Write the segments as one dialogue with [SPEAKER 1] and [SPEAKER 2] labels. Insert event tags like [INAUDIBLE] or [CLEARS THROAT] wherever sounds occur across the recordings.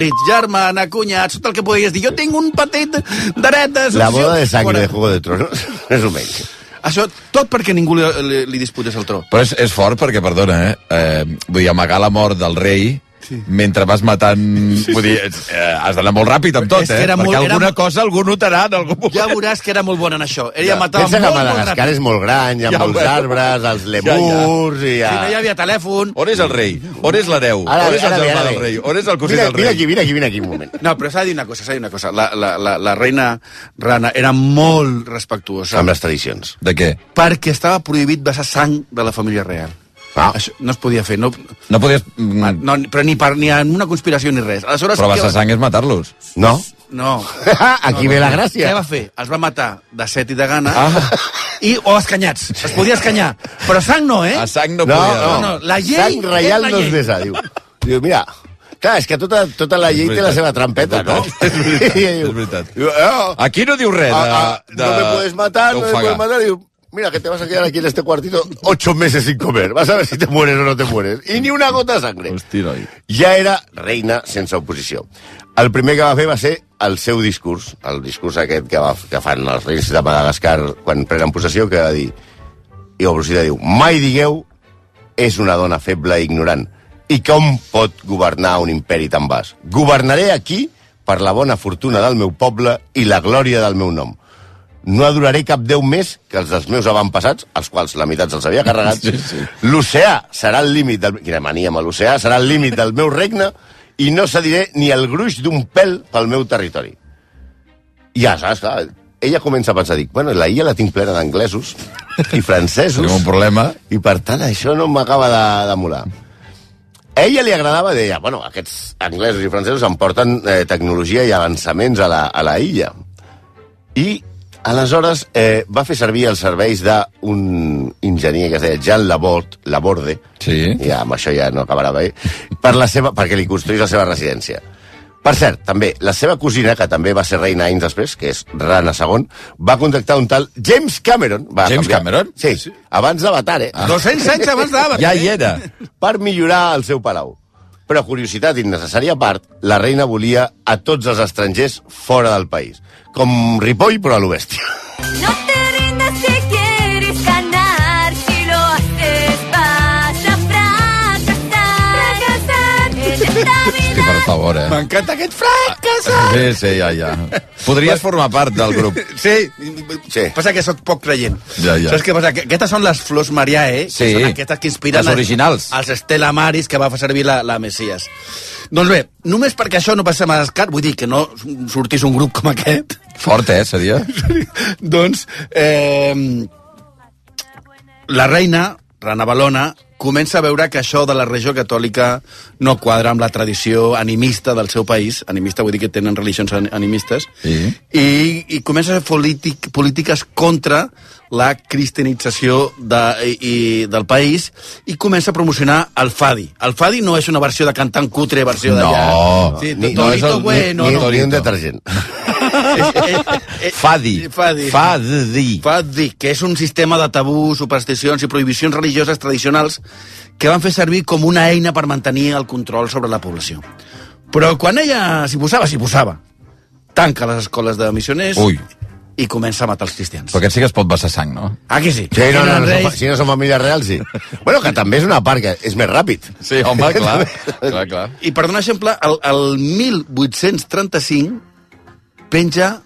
[SPEAKER 1] marits, germana, cunyats, tot el que podies dir. Jo tinc un petit d'aretes...
[SPEAKER 2] La
[SPEAKER 3] Doncs
[SPEAKER 1] o sigui,
[SPEAKER 2] boda de sangre de
[SPEAKER 1] fora.
[SPEAKER 2] Juego de Tronos, [LAUGHS] resumeix.
[SPEAKER 1] Això, tot perquè ningú li, li, li disputes el tro.
[SPEAKER 3] Però és, és fort perquè, perdona, eh? eh vull dir, amagar la mort del rei Sí. mentre vas matant... Sí. Vull dir, és- eh, has d'anar molt ràpid amb tot,
[SPEAKER 1] És que
[SPEAKER 3] eh?
[SPEAKER 1] era
[SPEAKER 3] Perquè
[SPEAKER 1] molt- era
[SPEAKER 3] alguna
[SPEAKER 1] molt-
[SPEAKER 3] cosa algú notarà en algun moment.
[SPEAKER 1] Ja veuràs que era molt bona en això. Ella ja. matava
[SPEAKER 2] Pensa
[SPEAKER 1] molt,
[SPEAKER 2] que
[SPEAKER 1] molt
[SPEAKER 2] Madagascar
[SPEAKER 1] ràpid.
[SPEAKER 2] és molt gran, hi ha
[SPEAKER 3] Ja,
[SPEAKER 2] molts
[SPEAKER 3] bueno.
[SPEAKER 2] arbres, els
[SPEAKER 3] ja.
[SPEAKER 2] lemurs... i
[SPEAKER 1] Si no hi havia telèfon...
[SPEAKER 3] On és el rei? On és l'hereu?
[SPEAKER 2] Ara
[SPEAKER 3] On
[SPEAKER 2] bé,
[SPEAKER 3] és el
[SPEAKER 2] ara bé,
[SPEAKER 3] germà
[SPEAKER 2] ara
[SPEAKER 3] del
[SPEAKER 2] bé.
[SPEAKER 3] rei? On és el cosí
[SPEAKER 2] Vine-
[SPEAKER 3] del
[SPEAKER 2] Vine
[SPEAKER 3] rei?
[SPEAKER 2] aquí, vine aquí, vine aquí un moment.
[SPEAKER 1] No, però s'ha de dir una cosa, s'ha de dir una cosa. La, la, la, la reina Rana era molt respectuosa
[SPEAKER 2] Amb les tradicions.
[SPEAKER 3] De què?
[SPEAKER 1] perquè estava prohibit vessar sang de la família real.
[SPEAKER 2] Ah.
[SPEAKER 1] Això no es podia fer, no,
[SPEAKER 3] No podies... Mm,
[SPEAKER 1] no, però ni, per, ni en una conspiració ni res. Aleshores,
[SPEAKER 3] però
[SPEAKER 1] què
[SPEAKER 3] vas a
[SPEAKER 1] va-
[SPEAKER 3] sang és matar-los.
[SPEAKER 2] No? [LAUGHS]
[SPEAKER 1] No.
[SPEAKER 2] Aquí ve la gràcia.
[SPEAKER 1] Què va fer? Els va matar de set i de gana ah. i, o escanyats. Es podia escanyar. Però sang no, eh?
[SPEAKER 3] A Ah, sang no,
[SPEAKER 2] No,
[SPEAKER 3] podia.
[SPEAKER 2] no,
[SPEAKER 1] no, la llei
[SPEAKER 2] Sang
[SPEAKER 1] és
[SPEAKER 2] reial
[SPEAKER 1] la
[SPEAKER 2] no es
[SPEAKER 1] llei.
[SPEAKER 2] besa, diu. Diu, mira, clar, és que tota, tota la llei té la seva trampeta, no?
[SPEAKER 3] [LAUGHS] És
[SPEAKER 2] [LAUGHS]
[SPEAKER 3] veritat,
[SPEAKER 2] I diu,
[SPEAKER 3] és veritat.
[SPEAKER 2] diu, "Oh,
[SPEAKER 3] Aquí no diu res de...
[SPEAKER 2] ah, ah,
[SPEAKER 3] Eh, de
[SPEAKER 2] no me puedes matar, no me
[SPEAKER 3] d'ofegar.
[SPEAKER 2] puedes matar. Digo, mira, que te vas a quedar aquí en este cuartito ocho meses sin comer. Vas a ver si te mueres o no te mueres. Y ni una gota de sangre.
[SPEAKER 3] Hosti, noi.
[SPEAKER 2] Ja era reina sense oposició. El primer que va fer va ser el seu discurs, el discurs aquest que, va, que fan els reis de Madagascar quan prenen possessió, que va dir... I Obrosita diu, mai digueu és una dona feble i ignorant. I com pot governar un imperi tan vast? Governaré aquí per la bona fortuna del meu poble i la glòria del meu nom. No adoraré cap déu més que els dels meus avantpassats, els quals la meitat se'ls havia carregat.
[SPEAKER 3] Sí, sí.
[SPEAKER 2] L'oceà serà el límit del... Quina mania amb l'oceà. Serà el límit del meu regne i no cediré ni el gruix d'un pèl pel meu territori. I ja saps, clar, ella comença a pensar, dic, bueno, la illa la tinc plena d'anglesos i francesos
[SPEAKER 3] Tenim un problema.
[SPEAKER 2] i per tant això no m'acaba de, de molar. A ella li agradava, deia, bueno, aquests anglesos i francesos em porten eh, tecnologia i avançaments a la, a la illa. I aleshores eh, va fer servir els serveis d'un enginyer que es deia Jean Laborde, Laborde
[SPEAKER 3] Sí.
[SPEAKER 2] ja, amb això ja no acabarà bé, per la seva, perquè li construís la seva residència. Per cert, també, la seva cosina, que també va ser reina anys després, que és Rana II, va contactar un tal James Cameron. Va
[SPEAKER 3] James Cameron?
[SPEAKER 2] Sí, abans d'Avatar, eh? Ah.
[SPEAKER 1] 200 anys abans d'Ava.
[SPEAKER 3] Ja hi era.
[SPEAKER 2] [LAUGHS] Per millorar el seu palau. Però, curiositat innecessària a part, la reina volia a tots els estrangers fora del país. Com Ripoll, però a l'oest. [LAUGHS]
[SPEAKER 4] No te rindas si quieres ganar, si lo haces vas a fracasar. Fracasar. En esta
[SPEAKER 3] Sí,
[SPEAKER 4] vida
[SPEAKER 3] per favor, eh?
[SPEAKER 1] M'encanta aquest fracàs.
[SPEAKER 3] Sí, sí, ja, ja. Podries formar part del grup.
[SPEAKER 1] Sí,
[SPEAKER 2] Sí.
[SPEAKER 1] sí. Passa que sóc poc creient.
[SPEAKER 3] Ja, ja.
[SPEAKER 1] Saps què passa? Que aquestes són les flors Mariae,
[SPEAKER 3] Sí.
[SPEAKER 1] que són aquestes que inspiren...
[SPEAKER 3] Les originals.
[SPEAKER 1] Els Estela Maris que va fer servir la, la Messias. Doncs bé, només perquè això no passa a Madagascar, vull dir que no sortís un grup com aquest,
[SPEAKER 3] Fort, eh, seria?
[SPEAKER 1] [LAUGHS] doncs eh, la reina, Rana Balona, comença a veure que això de la religió catòlica no quadra amb la tradició animista del seu país. Animista vull dir que tenen religions an- animistes
[SPEAKER 3] Sí.
[SPEAKER 1] i, i comença a fer polític, polítiques contra la cristianització de, i, i, del país i comença a promocionar el Fadi. El Fadi no és una versió de cantant cutre, versió d'allà.
[SPEAKER 5] Oh,
[SPEAKER 3] No.
[SPEAKER 1] sí,
[SPEAKER 2] Ni-
[SPEAKER 1] no,
[SPEAKER 2] no
[SPEAKER 3] és el- ni-
[SPEAKER 1] bueno,
[SPEAKER 2] ni,
[SPEAKER 1] no.
[SPEAKER 2] ni un [LAUGHS]
[SPEAKER 3] Torito.
[SPEAKER 2] detergent.
[SPEAKER 1] Eh, eh, eh,
[SPEAKER 3] Fadi.
[SPEAKER 1] Fadi.
[SPEAKER 3] Fadi.
[SPEAKER 1] Fadi, que és un sistema de tabús, supersticions i prohibicions religioses tradicionals que van fer servir com una eina per mantenir el control sobre la població. Però quan ella s'hi posava, s'hi posava. Tanca les escoles de missioners
[SPEAKER 3] Ui.
[SPEAKER 1] i comença a matar els cristians.
[SPEAKER 3] Però aquest sí que es pot vessar sang, no?
[SPEAKER 1] Aquí sí.
[SPEAKER 2] Sí, no, no, no,
[SPEAKER 1] Reis.
[SPEAKER 2] som, si no som famílies reals, sí. Bueno, que també és una part que és més ràpid.
[SPEAKER 3] Sí, home,
[SPEAKER 2] [LAUGHS]
[SPEAKER 3] clar. clar, clar.
[SPEAKER 1] I per donar exemple, el, el 1835 penja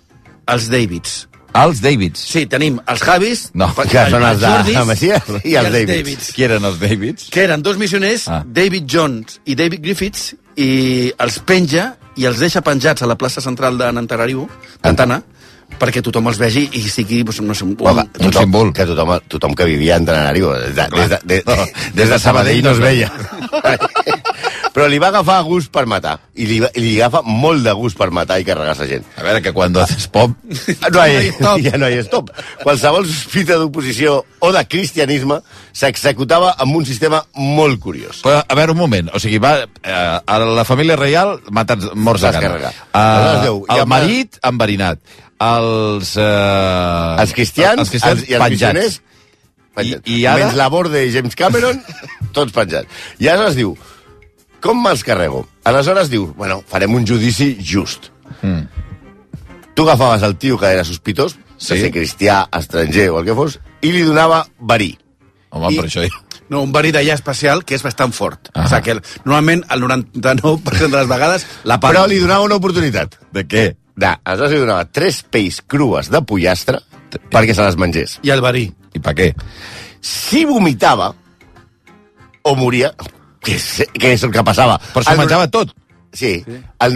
[SPEAKER 1] els Davids.
[SPEAKER 3] Els Davids.
[SPEAKER 1] Sí, tenim els Javis,
[SPEAKER 3] No,
[SPEAKER 1] pa-
[SPEAKER 2] que són els de
[SPEAKER 1] Jordis
[SPEAKER 2] la Messias i els Davids.
[SPEAKER 3] Qui eren els Davids?
[SPEAKER 1] que eren dos missioners,
[SPEAKER 3] Ah.
[SPEAKER 1] ah. David Jones i David Griffiths, i els penja i els deixa penjats a la plaça central de Nantanarivo, Tantana, perquè tothom els vegi i sigui, doncs, no sé, un...
[SPEAKER 2] Home,
[SPEAKER 1] un-
[SPEAKER 2] tothom,
[SPEAKER 3] símbol.
[SPEAKER 2] Que tothom, tothom que vivia en Trenariu, des de, des de, des,
[SPEAKER 3] No,
[SPEAKER 2] des de Sabadell no es veia. [LAUGHS] Però li va agafar gust per matar. I li, va- i li agafa molt de gust per matar i carregar sa gent.
[SPEAKER 3] A veure, que quan haces pop...
[SPEAKER 2] Ah, No
[SPEAKER 1] No hi
[SPEAKER 2] eh. hi,
[SPEAKER 1] ha stop.
[SPEAKER 2] [LAUGHS] ja no hi ha stop. Qualsevol sospita d'oposició o de cristianisme s'executava amb un sistema molt curiós.
[SPEAKER 3] Però, a veure, un moment. O sigui, va, eh, a la família reial matats morts de
[SPEAKER 2] Vas
[SPEAKER 3] gana.
[SPEAKER 2] carregar. Aleshores,
[SPEAKER 3] Eh,
[SPEAKER 2] Déu, i
[SPEAKER 3] el
[SPEAKER 2] amb-
[SPEAKER 3] marit enverinat. Els... Eh,
[SPEAKER 2] Els cristians,
[SPEAKER 3] els cristians
[SPEAKER 2] els- i els missioners,
[SPEAKER 3] penjats.
[SPEAKER 2] penjats.
[SPEAKER 3] I- i ara? [LAUGHS]
[SPEAKER 2] Menys la borda i James Cameron, tots penjats. I ara es diu, com me'ls carrego? Aleshores dius, bueno, farem un judici just. Mm. Tu agafaves el tio que era sospitós, sí.
[SPEAKER 3] Sí.
[SPEAKER 2] de ser cristià, estranger o el que fos, i li donava verí.
[SPEAKER 3] Home,
[SPEAKER 2] I-
[SPEAKER 3] I... per això...
[SPEAKER 1] No, un verí d'allà especial que és bastant fort.
[SPEAKER 3] Ah.
[SPEAKER 1] O sigui, que normalment el 99% de les vegades la
[SPEAKER 2] Però
[SPEAKER 1] parla.
[SPEAKER 2] li donava una oportunitat.
[SPEAKER 3] De què?
[SPEAKER 2] De, aleshores li donava tres pells crues de pollastre perquè se les mengés.
[SPEAKER 1] I el verí.
[SPEAKER 3] I per què?
[SPEAKER 2] Si vomitava o moria, que és, que és el que passava.
[SPEAKER 3] Però s'ho
[SPEAKER 2] El no-
[SPEAKER 3] menjava tot.
[SPEAKER 2] Sí, el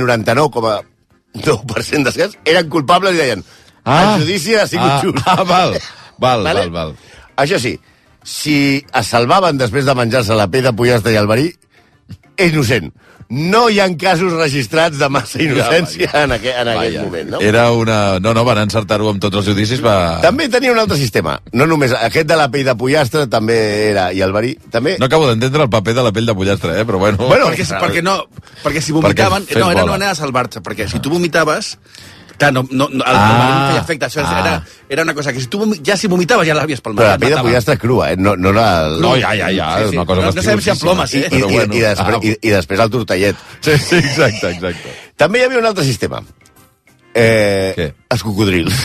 [SPEAKER 2] 99,9% dels cas eren culpables i deien ah, el judici ha sigut
[SPEAKER 3] ah,
[SPEAKER 2] just.
[SPEAKER 3] Ah, val, val,
[SPEAKER 2] Vale?
[SPEAKER 3] vale? val, val.
[SPEAKER 2] Això sí, si es salvaven després de menjar-se la pell de pollastre i el verí, és innocent. No hi ha casos registrats de massa innocència
[SPEAKER 3] vaja.
[SPEAKER 2] en, aqu en aquest
[SPEAKER 3] Vaja.
[SPEAKER 2] moment, no?
[SPEAKER 3] Era una... No, no, van encertar-ho amb tots els judicis, va...
[SPEAKER 2] També tenia un altre sistema. No només aquest de la pell de pollastre, també era... I el verí, també...
[SPEAKER 3] No acabo d'entendre el paper de la pell de pollastre, eh? Però bueno...
[SPEAKER 1] Bueno, perquè, perquè, no, perquè si vomitaven...
[SPEAKER 3] fes
[SPEAKER 1] Perquè no, era
[SPEAKER 3] bola.
[SPEAKER 1] una manera de salvar-se, perquè si tu vomitaves... Clar, no, no, no, el,
[SPEAKER 3] Ah.
[SPEAKER 1] ah, feia efecte. Això
[SPEAKER 3] Ah.
[SPEAKER 1] era, era una cosa que si tu vomi- ja si vomitaves ja l'havies palmat.
[SPEAKER 2] Però la
[SPEAKER 1] et
[SPEAKER 2] pell de
[SPEAKER 1] matava.
[SPEAKER 2] pollastre crua, eh? No, no la...
[SPEAKER 3] No, ja, ja, ja, és una cosa
[SPEAKER 1] No, no sabem si amb plomes,
[SPEAKER 2] I,
[SPEAKER 1] eh?
[SPEAKER 3] fastigosíssima.
[SPEAKER 2] i, i,
[SPEAKER 3] Però bueno. Ah,
[SPEAKER 2] i, després, i, I després el tortellet.
[SPEAKER 3] Sí, sí, exacte, exacte.
[SPEAKER 2] També hi havia un altre sistema. Eh,
[SPEAKER 3] Què?
[SPEAKER 2] Els cocodrils.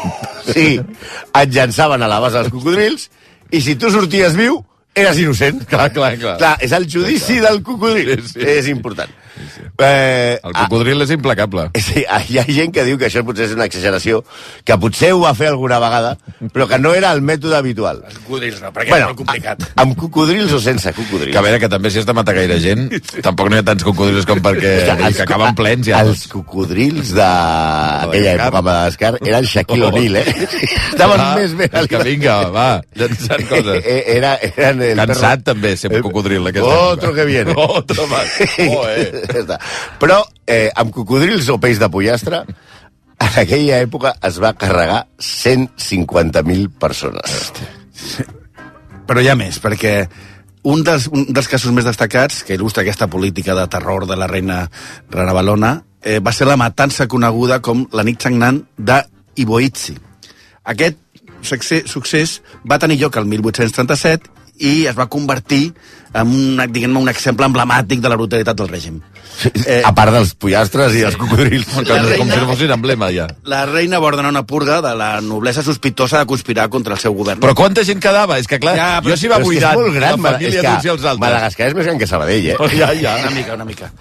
[SPEAKER 2] [LAUGHS] sí, et llançaven a la base dels cocodrils i si tu sorties viu, eres innocent.
[SPEAKER 3] Clar, clar, clar.
[SPEAKER 2] Clar, és el judici del cocodril. Sí,
[SPEAKER 3] Sí, sí.
[SPEAKER 2] sí. És important. Sí, sí. Eh,
[SPEAKER 3] El cocodril és implacable.
[SPEAKER 2] a, sí, a- hi ha gent que diu que això potser és una exageració, que potser ho va fer alguna vegada, però que no era el mètode habitual.
[SPEAKER 1] Cocodrils no, perquè bueno, és molt complicat.
[SPEAKER 2] a- amb cocodrils o sense cocodrils?
[SPEAKER 3] Que a veure, que també si has de matar gaire gent, tampoc no hi ha tants cocodrils com perquè
[SPEAKER 2] Hòstia,
[SPEAKER 3] que acaben plens ja.
[SPEAKER 2] Els cocodrils d'aquella
[SPEAKER 3] Madagascar.
[SPEAKER 2] època de Madagascar eren Shaquille
[SPEAKER 3] [LAUGHS]
[SPEAKER 2] O'Neal, eh? Estaven
[SPEAKER 3] Va,
[SPEAKER 2] més ben
[SPEAKER 3] Ah, és que vinga, va, llançant coses.
[SPEAKER 2] [LAUGHS] Eh, Era, eren el
[SPEAKER 3] Cansat, també, ser
[SPEAKER 2] Eh,
[SPEAKER 3] cocodril, aquesta
[SPEAKER 2] Otro
[SPEAKER 3] època.
[SPEAKER 2] que viene.
[SPEAKER 3] [LAUGHS] Otro
[SPEAKER 2] [LAUGHS]
[SPEAKER 3] más. Oh, eh.
[SPEAKER 2] Ja està. Però eh, amb cocodrils o peix de pollastre, en aquella època es va carregar 150.000 persones.
[SPEAKER 1] Però hi ha més, perquè un dels, un dels casos més destacats que il·lustra aquesta política de terror de la reina Rara Balona eh, va ser la matança coneguda com la nit sagnant de Iboitzi. Aquest succe- succés va tenir lloc el 1837 i es va convertir en un, diguem un exemple emblemàtic de la brutalitat del règim.
[SPEAKER 2] Eh, a part dels pollastres i dels cocodrils.
[SPEAKER 1] La reina-
[SPEAKER 3] Com si no fossin emblema, ja.
[SPEAKER 1] La reina va ordenar una purga de la noblesa sospitosa de conspirar contra el seu govern.
[SPEAKER 3] Però quanta gent quedava? És que, clar,
[SPEAKER 1] Ja,
[SPEAKER 3] ja, però,
[SPEAKER 1] però-
[SPEAKER 3] jo s'hi
[SPEAKER 2] Però
[SPEAKER 3] va
[SPEAKER 2] és que
[SPEAKER 3] buidant.
[SPEAKER 2] És molt gran,
[SPEAKER 3] la
[SPEAKER 2] Mada-
[SPEAKER 3] família
[SPEAKER 2] és
[SPEAKER 3] d'uns i
[SPEAKER 2] que
[SPEAKER 3] els altres.
[SPEAKER 2] Madagascar és més gran que Sabadell, eh?
[SPEAKER 3] Oh, Ja, ja.
[SPEAKER 1] Una mica, una mica.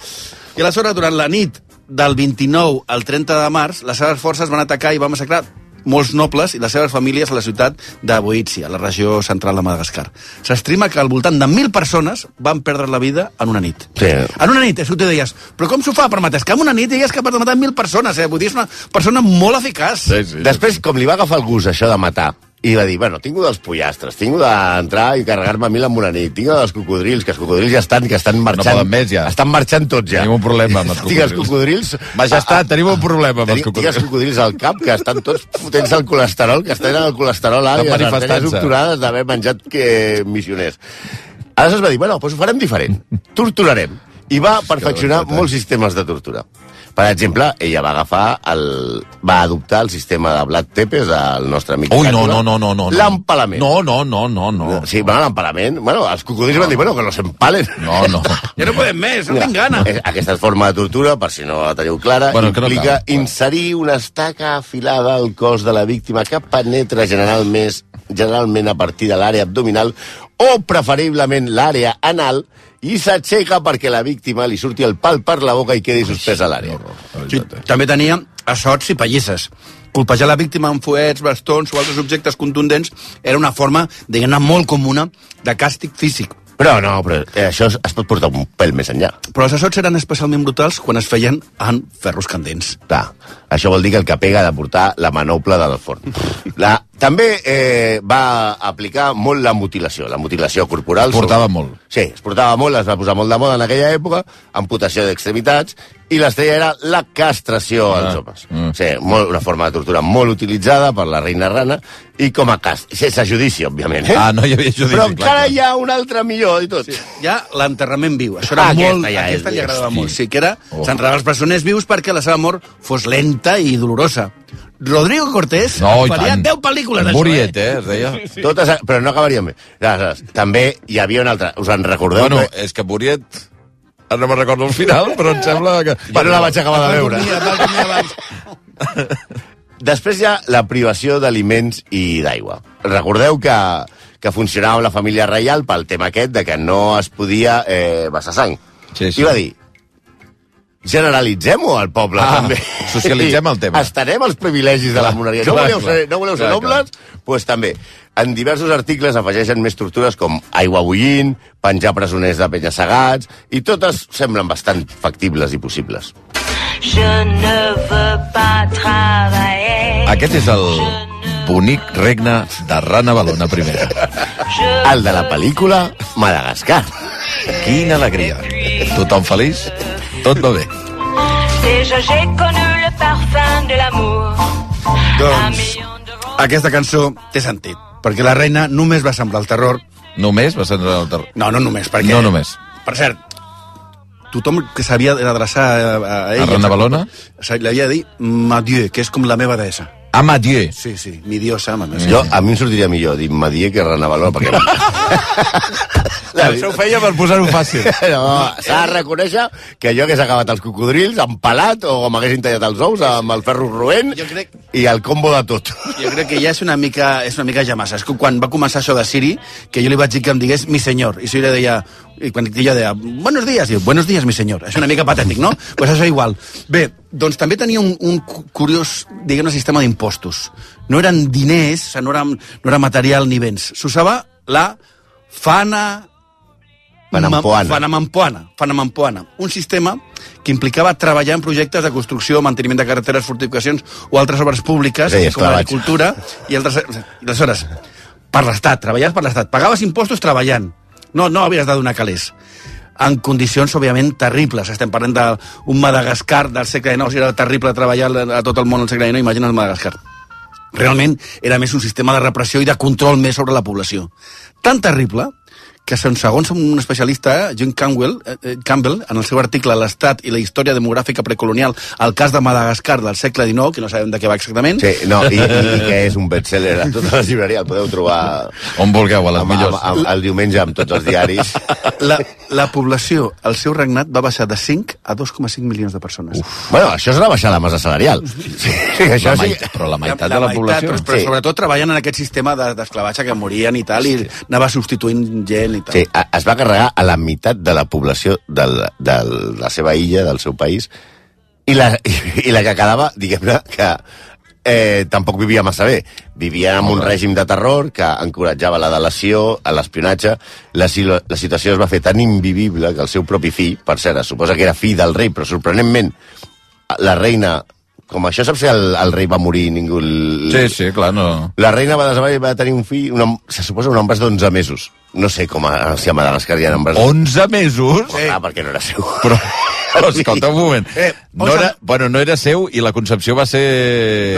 [SPEAKER 1] I aleshores, durant la nit del 29 al 30 de març, les seves forces van atacar i van massacrar molts nobles i les seves famílies a la ciutat de Boitsi, a la regió central de Madagascar. S'estima que al voltant de 1.000 persones van perdre la vida en una nit.
[SPEAKER 2] Sí.
[SPEAKER 1] En una nit, això tu deies, però com s'ho fa per matar? És que en una nit ella és capaç de matar 1.000 persones, eh? Vull dir, és una persona molt eficaç.
[SPEAKER 3] Sí, sí.
[SPEAKER 2] Després, com li va agafar el gust, això de matar, i va dir, bueno, tinc dels pollastres, tinc d'entrar i carregar-me a mil amb una nit, tinc dels cocodrils, que els cocodrils ja estan, que estan marxant...
[SPEAKER 3] poden més, ja.
[SPEAKER 2] Estan marxant tots, ja.
[SPEAKER 3] Tenim un problema amb els
[SPEAKER 2] Tinc els cocodrils...
[SPEAKER 3] Majestat, tenim un problema amb els
[SPEAKER 2] Tinc, tinc els
[SPEAKER 3] cocodrils.
[SPEAKER 2] cocodrils al cap, que estan tots fotent-se el colesterol, que estan en el colesterol ara, i
[SPEAKER 3] Estan
[SPEAKER 2] les artèries
[SPEAKER 3] manifestant-se.
[SPEAKER 2] obturades d'haver menjat que missioners. Aleshores va dir, bueno, doncs ho farem diferent. Torturarem. I va perfeccionar
[SPEAKER 3] barbaritat.
[SPEAKER 2] molts sistemes de tortura. Per exemple, ella va agafar el... va adoptar el sistema de Vlad Tepes, el nostre amic...
[SPEAKER 3] Ui, no,
[SPEAKER 2] Càtula,
[SPEAKER 3] no, no, no. no.
[SPEAKER 2] L'empalament.
[SPEAKER 3] No, no, no, no, no.
[SPEAKER 2] Sí, bueno, l'empalament. Bueno, els cocodrils van dir, bueno, que los empalen.
[SPEAKER 3] No, [LAUGHS] no.
[SPEAKER 1] Ja no podem més, no tinc gana.
[SPEAKER 2] És- Aquesta forma de tortura, per si no la teniu clara,
[SPEAKER 3] Bueno,
[SPEAKER 2] bueno,
[SPEAKER 3] que no
[SPEAKER 2] implica
[SPEAKER 3] cal.
[SPEAKER 2] no inserir una estaca afilada al cos de la víctima que penetra general més, generalment a partir de l'àrea abdominal o preferiblement l'àrea anal i s'aixeca perquè la víctima li surti el pal per la boca i quedi suspesa a l'àrea.
[SPEAKER 1] Sí, també tenia assots i pallisses. Colpejar la víctima amb fuets, bastons o altres objectes contundents era una forma, diguem-ne, molt comuna de càstig físic.
[SPEAKER 2] Però no, però eh, això es, es pot portar un pèl més enllà.
[SPEAKER 1] Però els assots eren especialment brutals quan es feien en ferros candents.
[SPEAKER 2] Clar, això vol dir que el que pega ha de portar la manopla del
[SPEAKER 3] [LAUGHS]
[SPEAKER 2] forn. La, també eh, va aplicar molt la mutilació, la mutilació corporal.
[SPEAKER 3] Es portava molt.
[SPEAKER 2] Sí, es portava molt, es va posar molt de moda en aquella època, amputació d'extremitats, i l'estrella era la castració ah, als homes.
[SPEAKER 3] mm.
[SPEAKER 2] Mm. Sí, molt, una forma de tortura molt utilitzada per la reina rana, i com a cast, sense judici, òbviament. Eh?
[SPEAKER 3] Ah, no hi havia judici,
[SPEAKER 2] Però
[SPEAKER 3] clar,
[SPEAKER 2] encara
[SPEAKER 3] clar.
[SPEAKER 2] hi ha un altre millor i tot. Sí.
[SPEAKER 1] Hi ha l'enterrament viu. Això era
[SPEAKER 2] Ah, aquesta
[SPEAKER 1] molt...
[SPEAKER 2] ja
[SPEAKER 1] aquesta
[SPEAKER 2] és-
[SPEAKER 1] li agradava molt.
[SPEAKER 3] sí.
[SPEAKER 1] Sí, que era...
[SPEAKER 3] Oh.
[SPEAKER 1] S'enterraven els presoners vius perquè la seva mort fos lenta i dolorosa. Rodrigo Cortés
[SPEAKER 3] No, i
[SPEAKER 1] faria
[SPEAKER 3] tant.
[SPEAKER 1] 10 pel·lícules d'això, eh?
[SPEAKER 3] Muriet, eh, es deia.
[SPEAKER 2] Totes, però no acabaríem bé. Aleshores, També hi havia un altre, us en recordeu?
[SPEAKER 3] Bueno,
[SPEAKER 2] que-
[SPEAKER 3] és que Muriet... Ara no me'n recordo el final, però em sembla que...
[SPEAKER 2] Jo no la vaig acabar de veure.
[SPEAKER 1] Dormia, va dormir abans.
[SPEAKER 2] Després hi ha la privació d'aliments i d'aigua. Recordeu que, que funcionava amb la família reial pel tema aquest de que no es podia eh, vessar sang.
[SPEAKER 3] Sí, sí.
[SPEAKER 2] I va dir, generalitzem-ho al poble,
[SPEAKER 3] Ah,
[SPEAKER 2] també. [LAUGHS]
[SPEAKER 3] socialitzem el tema.
[SPEAKER 2] Estarem els privilegis de la
[SPEAKER 3] Clar,
[SPEAKER 2] monarquia.
[SPEAKER 3] clar,
[SPEAKER 2] no voleu
[SPEAKER 3] clar.
[SPEAKER 2] ser, no voleu ser
[SPEAKER 3] Clar, clar.
[SPEAKER 2] nobles? Doncs pues, també. En diversos articles afegeixen més tortures com aigua bullint, penjar presoners de penya-segats, i totes semblen bastant factibles i possibles.
[SPEAKER 6] Je ne veux pas travailler.
[SPEAKER 3] Aquest és el bonic regne de Rana Balona primera.
[SPEAKER 6] Je
[SPEAKER 2] El de la pel·lícula Madagascar.
[SPEAKER 3] Quina alegria. Tothom feliç, tot va bé.
[SPEAKER 6] Déjà j'ai connu le parfum de l'amour. Un
[SPEAKER 1] Doncs
[SPEAKER 6] million de roses.
[SPEAKER 1] aquesta cançó té sentit, perquè la reina només va semblar el terror.
[SPEAKER 3] Només va ser el terror.
[SPEAKER 1] No, no només, perquè...
[SPEAKER 3] No només.
[SPEAKER 1] Per cert, tothom que s'havia d'adreçar a, a
[SPEAKER 3] A
[SPEAKER 1] ella...
[SPEAKER 3] Rana Balona?
[SPEAKER 1] se- L'havia de dir Madieu, que és com la meva deessa.
[SPEAKER 3] Amadieu.
[SPEAKER 1] Sí, sí, mi diosa, ma meva.
[SPEAKER 2] Jo, a mi em sortiria millor dir Madier que Renavaló,
[SPEAKER 3] [LAUGHS]
[SPEAKER 2] perquè...
[SPEAKER 3] Això ho feia per posar-ho fàcil.
[SPEAKER 2] [LAUGHS] No, s'ha de reconèixer que jo hagués acabat els cocodrils empelat o m'haguessin tallat els ous amb el ferro roent
[SPEAKER 1] Jo crec-
[SPEAKER 2] i el combo de tot.
[SPEAKER 1] Jo crec que ja és una mica, és una mica ja massa. És que quan va començar això de Siri, que jo li vaig dir que em digués mi senyor, i Siri deia, i quan ella deia, buenos días, diu, buenos días, mi senyor. És una mica patètic, no? Doncs pues això igual. Bé, doncs també tenia un, un cu- curiós, diguem-ne, sistema d'impostos. No eren diners, o sigui, no era, no era material ni béns. S'usava la fana...
[SPEAKER 2] Fanampoana.
[SPEAKER 1] Fanamampoana, Fanamampoana, un sistema que implicava treballar en projectes de construcció, manteniment de carreteres, fortificacions o altres obres públiques,
[SPEAKER 2] Sí, és
[SPEAKER 1] com
[SPEAKER 2] clar, vaig.
[SPEAKER 1] l'agricultura i altres... Aleshores, per l'Estat, treballaves per l'Estat. Pagaves impostos treballant. No, no havies de donar calés. En condicions, òbviament, terribles. Estem parlant d'un Madagascar del segle XIX. O sigui, era terrible treballar a tot el món al segle XIX. Imagina't el Madagascar realment era més un sistema de repressió i de control més sobre la població. Tan terrible que, segons- segons un especialista, John Campbell, eh, eh, Campbell en el seu article L'estat i la història demogràfica precolonial al cas de Madagascar del segle XIX, que no sabem de què va exactament,
[SPEAKER 2] Sí, no, i, i que és un best-seller a totes les llibreries, el podeu trobar
[SPEAKER 3] On vulgueu, a les
[SPEAKER 2] amb, amb,
[SPEAKER 3] millors.
[SPEAKER 2] amb, el diumenge amb tots els diaris.
[SPEAKER 1] la, la població, el seu regnat, va baixar de 5 a 2,5 milions de persones. Uf.
[SPEAKER 2] Bueno, això és una baixada de massa salarial. Sí, això
[SPEAKER 3] La
[SPEAKER 2] sí.
[SPEAKER 3] meitat, però la meitat de la població.
[SPEAKER 1] Però, però
[SPEAKER 2] Sí.
[SPEAKER 1] sobretot treballant en aquest sistema de- d'esclavatge que morien i tal, i anava substituint gent i tal.
[SPEAKER 2] Sí, a- es va carregar a la meitat de la població del, de la seva illa, del seu país, i la, [LAUGHS] i la que quedava, diguem-ne, que eh, tampoc vivia massa bé. Vivia amb un règim de terror que encoratjava la delació, a l'espionatge. La, si- la situació es va fer tan invivible que el seu propi fill, per cert, es suposa que era fill del rei, però sorprenentment la reina... Com això saps si el, el rei va morir i ningú... l-
[SPEAKER 3] Sí, sí, clar, no...
[SPEAKER 2] la reina va desaparèixer i va tenir un fill, una, se suposa un embràs d'11 mesos. No sé com a, si a Madagascar hi ha embràs...
[SPEAKER 3] 11 mesos?
[SPEAKER 2] Però clar, perquè no era seu.
[SPEAKER 3] Oh, eh. Però, però escolta un moment.
[SPEAKER 1] Eh,
[SPEAKER 3] No
[SPEAKER 1] onze-
[SPEAKER 3] era, bueno, no era seu i la concepció va ser...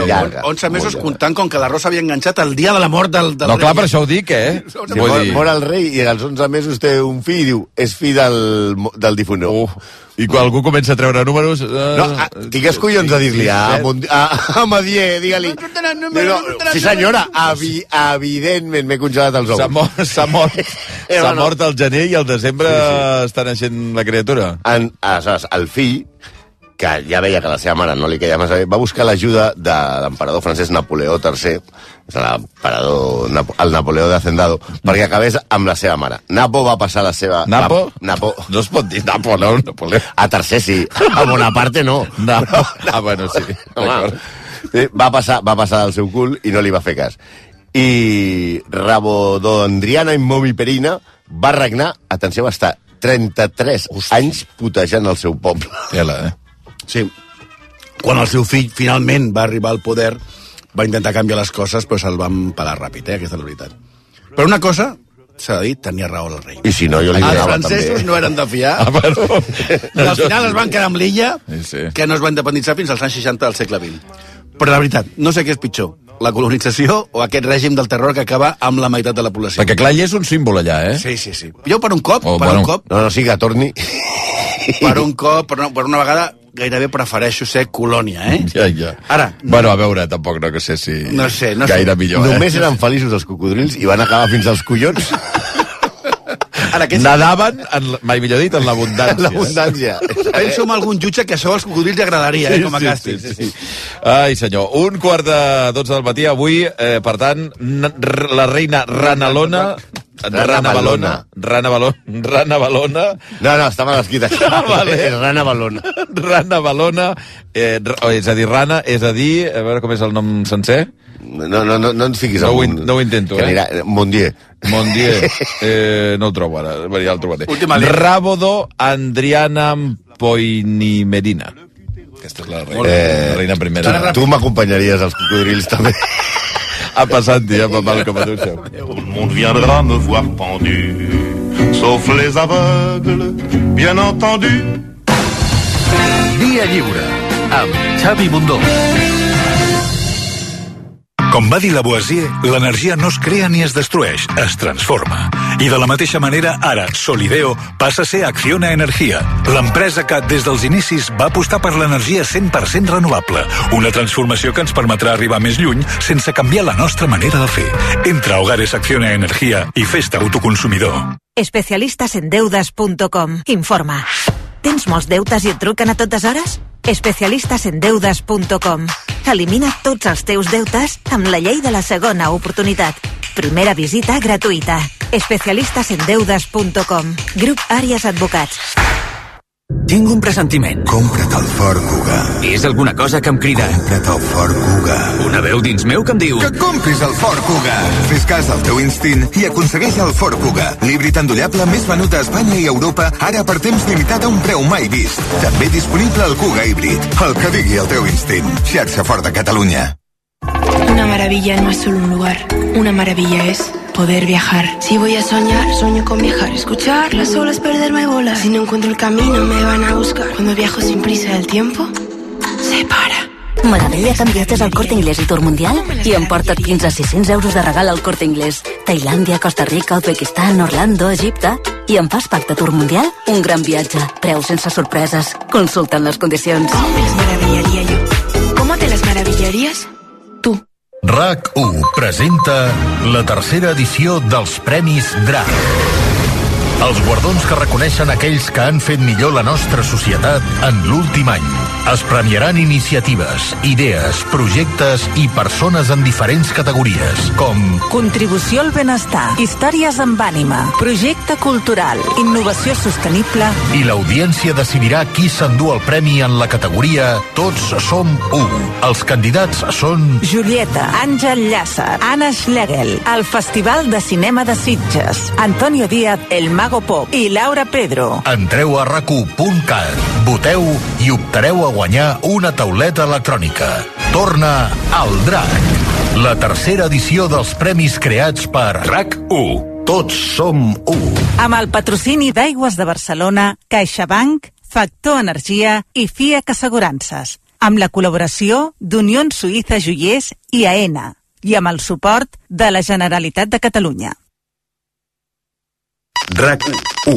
[SPEAKER 2] Ja.
[SPEAKER 1] On-
[SPEAKER 2] llarga,
[SPEAKER 1] 11 mesos
[SPEAKER 2] molt llarga.
[SPEAKER 1] comptant com que la Rosa havia enganxat el dia de la mort del, del
[SPEAKER 3] No,
[SPEAKER 1] rei.
[SPEAKER 3] clar, per això ho dic, eh? Vull
[SPEAKER 2] Si mor,
[SPEAKER 3] dir...
[SPEAKER 2] mor el rei i als 11 mesos té un fill i diu és fill del, mo- del difunt.
[SPEAKER 3] Uf, I quan algú comença a treure números... Eh,
[SPEAKER 2] No, ah, a, digues collons de dir-li a, Mond- a, a Madier, digue-li.
[SPEAKER 1] No surten
[SPEAKER 2] No,
[SPEAKER 1] números,
[SPEAKER 2] no,
[SPEAKER 1] no surten
[SPEAKER 2] sí senyora, evi, evidentment m'he congelat els
[SPEAKER 3] S'ha
[SPEAKER 2] ous.
[SPEAKER 3] mort, s'ha mort,
[SPEAKER 2] Eh,
[SPEAKER 3] s'ha
[SPEAKER 2] bueno.
[SPEAKER 3] mort al gener i al desembre està naixent la criatura.
[SPEAKER 2] En, aleshores, el fill, que ja veia que la seva mare no li queia massa bé, va buscar l'ajuda de l'emperador francès Napoleó III, és l'emperador, Napo- el Napoleó de Hacendado, perquè acabés amb la seva mare. Napo va passar la seva...
[SPEAKER 3] Napo?
[SPEAKER 2] Na- Napo.
[SPEAKER 3] No es pot dir Napo, no? Napoleó.
[SPEAKER 2] A tercer sí, a Bonaparte no.
[SPEAKER 3] Napo. Ah, bueno, sí.
[SPEAKER 2] Home,
[SPEAKER 3] D'acord.
[SPEAKER 2] eh, va passar, va passar del seu cul i no li va fer cas. I Rabodondriana Immomiperina va regnar, atenció, va estar 33 anys putejant el seu poble.
[SPEAKER 3] Tela, eh?
[SPEAKER 1] Sí. Quan el seu fill finalment va arribar al poder, va intentar canviar les coses, però se'l van pelar ràpid, eh? aquesta és la veritat. Però una cosa, s'ha de dir, tenia raó el rei.
[SPEAKER 2] I si no, jo li
[SPEAKER 1] Els
[SPEAKER 2] donava
[SPEAKER 1] francesos
[SPEAKER 2] també.
[SPEAKER 1] no eren de fiar,
[SPEAKER 3] Ah, bueno.
[SPEAKER 1] i al final es van quedar amb l'illa,
[SPEAKER 3] Sí, sí.
[SPEAKER 1] que no es va independitzar fins als anys 60 del segle XX. Però la veritat, no sé què és pitjor, la colonització o aquest règim del terror que acaba amb la meitat de la població.
[SPEAKER 3] Perquè clar, ell és un símbol allà, eh?
[SPEAKER 1] Sí, sí, sí. Jo per un cop,
[SPEAKER 3] Oh,
[SPEAKER 1] per
[SPEAKER 3] bueno.
[SPEAKER 1] un cop,
[SPEAKER 2] No, no, sí que torni.
[SPEAKER 1] per un cop, per una, per una vegada, gairebé prefereixo ser colònia, eh?
[SPEAKER 3] Ja, ja.
[SPEAKER 1] Ara,
[SPEAKER 3] Bueno, a veure, tampoc no que sé si...
[SPEAKER 1] No sé, no sé.
[SPEAKER 3] gaire millor, eh? [LAUGHS]
[SPEAKER 2] Només eren feliços els cocodrils i van acabar fins als collons.
[SPEAKER 3] eh?
[SPEAKER 1] en aquests...
[SPEAKER 3] Nadaven, en, la- mai millor dit,
[SPEAKER 1] [LAUGHS]
[SPEAKER 3] en l'abundància.
[SPEAKER 2] L'abundància.
[SPEAKER 1] Penso en algun jutge que això als cocodrils li agradaria, eh, com a càstig. Sí, sí, sí.
[SPEAKER 3] Ai, senyor, un quart de 12 del matí avui, eh, per tant, n- r- la reina Ranalona... Rana Balona. Rana Balona. Rana [LAUGHS] Balona.
[SPEAKER 2] No, no, està mal
[SPEAKER 3] [LAUGHS]
[SPEAKER 2] escrit això.
[SPEAKER 3] Ah, vale.
[SPEAKER 2] És Rana Balona.
[SPEAKER 3] Rana Balona. Eh, r- o, és a dir, Rana, és a dir... A veure com és el nom sencer.
[SPEAKER 2] No, no, no, no ens fiquis
[SPEAKER 3] No
[SPEAKER 2] en
[SPEAKER 3] ho in-
[SPEAKER 2] un-
[SPEAKER 3] no ho intento,
[SPEAKER 2] que
[SPEAKER 3] eh?
[SPEAKER 2] Anirà... Mondier.
[SPEAKER 3] Bon dia.
[SPEAKER 1] [LAUGHS]
[SPEAKER 3] Eh, no el trobo ara, Bé, ja el trobaré.
[SPEAKER 1] Última lletra.
[SPEAKER 3] Ràbodo Andriana Poinimerina. Aquesta és la reina, eh, la reina primera.
[SPEAKER 2] Tu m'acompanyaries als cocodrils, també.
[SPEAKER 3] Ha passat dia, papà, com a tu seu.
[SPEAKER 7] Tout le monde viendra me voir pendu, sauf les aveugles, bien entendu.
[SPEAKER 8] Via Lliure, amb Xavi Bundó. Com va dir Lavoisier, l'energia no es crea ni es destrueix, es transforma. I de la mateixa manera, ara, Solideo passa a ser Acciona Energia, l'empresa que, des dels inicis, va apostar per l'energia 100% renovable, una transformació que ens permetrà arribar més lluny sense canviar la nostra manera de fer. Entra a Hogares Acciona Energia i festa autoconsumidor.
[SPEAKER 9] especialistasendeudes.com. Informa. Tens molts deutes i et truquen a totes hores? especialistasendeudes.com. Elimina tots els teus deutes amb la llei de la segona oportunitat. Primera visita gratuïta. especialistasendeudes.com. Grup Àries Advocats.
[SPEAKER 10] Tinc un pressentiment. Compra't el Ford Kuga. És alguna cosa que em crida. Compra't el Ford Kuga. Una veu dins meu que em diu...
[SPEAKER 11] Que compris el Ford Kuga. Fes cas al teu instint i aconsegueix el Ford Kuga, l'híbrid endollable més venut a Espanya i Europa, ara per temps limitat a un preu mai vist. També disponible el Kuga híbrid. El que digui el teu instint. Xarxa Ford de Catalunya.
[SPEAKER 12] Una maravilla no es solo un lugar, una maravilla es poder viajar. Si voy a soñar, sueño con viajar, escuchar las olas, perderme y volar. Si no encuentro el camino, me van a buscar. Cuando viajo sin prisa, el tiempo se para.
[SPEAKER 9] M'agradaria que enviates al Corte Inglés i Tour Mundial i
[SPEAKER 13] em
[SPEAKER 9] emporta't fins a 600 euros de regal al Corte Inglés. Tailàndia, Costa Rica, Uzbekistan, Orlando, Egipte... I amb Passport de Tour Mundial, un gran viatge. Preus sense sorpreses. Consulta'n les condicions.
[SPEAKER 12] ¿Cómo me las maravillaría yo? ¿Cómo te las maravillarías tú?
[SPEAKER 8] RAC1 presenta la tercera edició dels Premis DRAC. Els guardons que reconeixen aquells que han fet millor la nostra societat en l'últim any. Es premiaran iniciatives, idees, projectes i persones en diferents categories, com
[SPEAKER 9] Contribució al benestar. Històries amb ànima. Projecte cultural. Innovació sostenible.
[SPEAKER 8] i l'audiència decidirà qui s'endú el premi en la categoria Tots som u. Els candidats són
[SPEAKER 9] Julieta, Àngel Llàcer, Anna Schlegel, el Festival de Cinema de Sitges, Antonio Díaz, El Mago Pop i Laura Pedro.
[SPEAKER 8] Entreu a racu.cat, voteu i optareu a guanyar una tauleta electrònica. Torna al DRAC, la tercera edició dels premis creats per RAC1. Tots som u.
[SPEAKER 9] Amb el patrocini d'Aigües de Barcelona, CaixaBank, Factor Energia i FIAC Assegurances. Amb la col·laboració d'Unió Suïssa Joiers i AENA. I amb el suport de la Generalitat de Catalunya.
[SPEAKER 8] RAC1.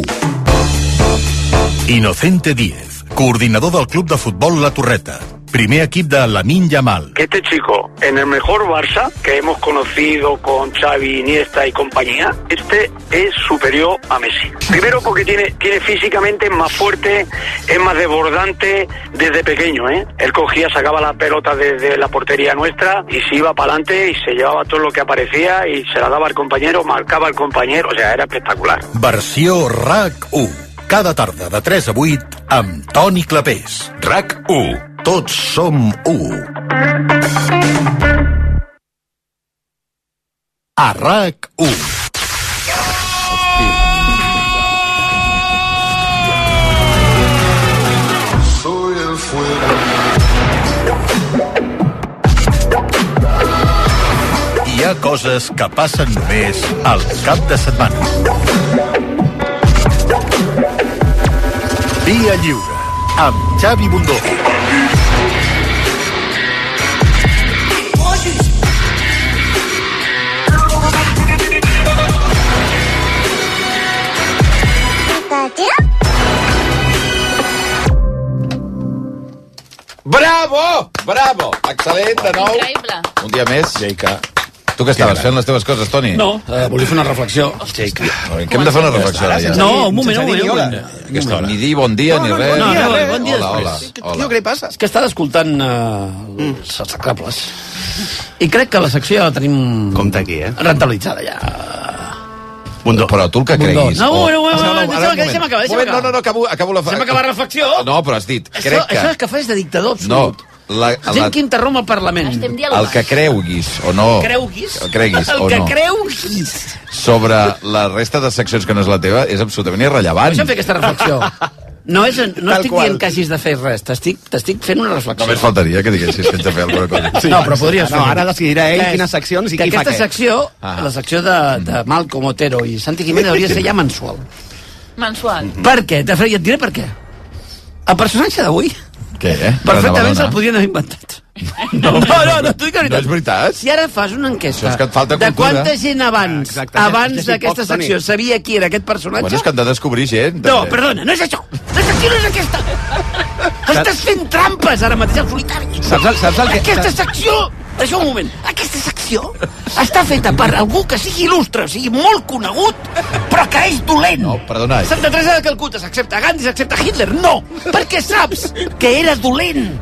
[SPEAKER 8] Inocente 10, coordinador del Club de Futbol La Torreta. Primer equip de Lamin Yamal.
[SPEAKER 10] Este chico, en el mejor Barça que hemos conocido con Xavi, Iniesta y compañía, este es superior a Messi. Primero porque tiene, tiene físicamente es más fuerte, es más desbordante desde pequeño. ¿eh? Él cogía, sacaba la pelota desde la portería nuestra y se iba para adelante y se llevaba todo lo que aparecía y se la daba al compañero, marcaba al compañero, o sea, era espectacular.
[SPEAKER 8] Versió RAC1. Cada tarda de 3 a 8 amb Toni Clapés. RAC1. Tots som u. A RAC1. Hi ha coses que passen només al cap de setmana. Via Lliure, amb Xavi Bundó.
[SPEAKER 3] Bravo! Bravo! Excel·lent, de nou.
[SPEAKER 14] Increïble.
[SPEAKER 3] Un dia més.
[SPEAKER 2] Jaica.
[SPEAKER 3] eh? Tu què estaves fent les teves coses, Toni?
[SPEAKER 14] No, eh, volia fer una reflexió.
[SPEAKER 3] Hòstia, que hem de fer una reflexió ara, ja.
[SPEAKER 14] No, un moment, un moment, un
[SPEAKER 3] Sense dir ni hola.
[SPEAKER 14] moment.
[SPEAKER 3] Aquesta hora. Ni dir bon dia, ni res.
[SPEAKER 14] No, no,
[SPEAKER 3] res.
[SPEAKER 14] bon dia
[SPEAKER 3] Hola, hola,
[SPEAKER 14] després.
[SPEAKER 3] hola.
[SPEAKER 14] què li passa? És que estava escoltant eh,
[SPEAKER 3] Mm.
[SPEAKER 14] els sacables. I crec que la secció ja la tenim... Compte aquí, eh? Rentabilitzada, ja.
[SPEAKER 3] Bundó. Però tu el que
[SPEAKER 14] Bundó.
[SPEAKER 3] creguis.
[SPEAKER 14] No,
[SPEAKER 3] o-
[SPEAKER 14] bueno, bueno,
[SPEAKER 3] Ah,
[SPEAKER 14] bueno, deixa'm
[SPEAKER 3] ara, un
[SPEAKER 14] acabar, deixa'm acabar, deixa'm
[SPEAKER 3] Moment,
[SPEAKER 14] acabar.
[SPEAKER 3] No, no, no, acabo, acabo la...
[SPEAKER 14] Deixa'm acabar la reflexió.
[SPEAKER 3] No, però has dit,
[SPEAKER 14] Això,
[SPEAKER 3] crec que...
[SPEAKER 14] això és que fas de dictador
[SPEAKER 3] No,
[SPEAKER 14] absolut.
[SPEAKER 3] la,
[SPEAKER 14] No.
[SPEAKER 3] la,
[SPEAKER 14] Gent que interromp el Parlament. Estem
[SPEAKER 3] el que creguis o no...
[SPEAKER 14] Creguis?
[SPEAKER 3] El creguis
[SPEAKER 14] el
[SPEAKER 3] o
[SPEAKER 14] que
[SPEAKER 3] no.
[SPEAKER 14] creguis.
[SPEAKER 3] Sobre la resta de seccions que no és la teva és absolutament irrellevant.
[SPEAKER 14] Deixa'm fer aquesta reflexió. No, és, no
[SPEAKER 3] Tal
[SPEAKER 14] estic
[SPEAKER 3] qual.
[SPEAKER 14] dient que hagis de fer res, t'estic t'estic fent una reflexió.
[SPEAKER 3] Només faltaria que diguessis que ets de fer alguna cosa.
[SPEAKER 14] Sí. No, però podries fer.
[SPEAKER 5] No, ara decidirà ell
[SPEAKER 14] Que-
[SPEAKER 5] quines seccions i
[SPEAKER 14] que
[SPEAKER 5] qui fa
[SPEAKER 14] aquesta
[SPEAKER 5] què.
[SPEAKER 14] secció,
[SPEAKER 5] Ah.
[SPEAKER 14] la secció de,
[SPEAKER 3] Mm.
[SPEAKER 14] de Malcom Otero i Santi Jiménez hauria de ser ja mensual.
[SPEAKER 13] Mensual.
[SPEAKER 3] Mm-hmm.
[SPEAKER 14] Per què? De fet, ja et diré per què. El personatge d'avui
[SPEAKER 3] Què, eh?
[SPEAKER 14] perfectament se'l podrien haver inventat.
[SPEAKER 3] [LAUGHS]
[SPEAKER 14] No, no, no, no t'ho dic la veritat.
[SPEAKER 3] No és veritat?
[SPEAKER 14] Si ara fas una enquesta
[SPEAKER 3] Això és que et falta
[SPEAKER 14] de
[SPEAKER 3] cultura.
[SPEAKER 14] quanta gent abans,
[SPEAKER 3] Exacte, ja- ja
[SPEAKER 14] abans
[SPEAKER 3] sí
[SPEAKER 14] d'aquesta
[SPEAKER 3] pots tenir.
[SPEAKER 14] secció sabia qui era aquest personatge...
[SPEAKER 3] Bueno, és que hem de descobrir gent.
[SPEAKER 14] No,
[SPEAKER 3] també.
[SPEAKER 14] perdona, no és això. La secció no és aquesta. Estàs fent trampes ara mateix al solitari.
[SPEAKER 5] Saps el- saps el que-
[SPEAKER 14] Aquesta secció... Deixa un moment. Aquesta secció està feta per algú que sigui il·lustre, o sigui molt conegut, però que és dolent. No,
[SPEAKER 3] Oh, perdona. eh.
[SPEAKER 14] Santa Teresa de Calcuta s'accepta Gandhi, s'accepta Hitler. No, perquè saps que era dolent.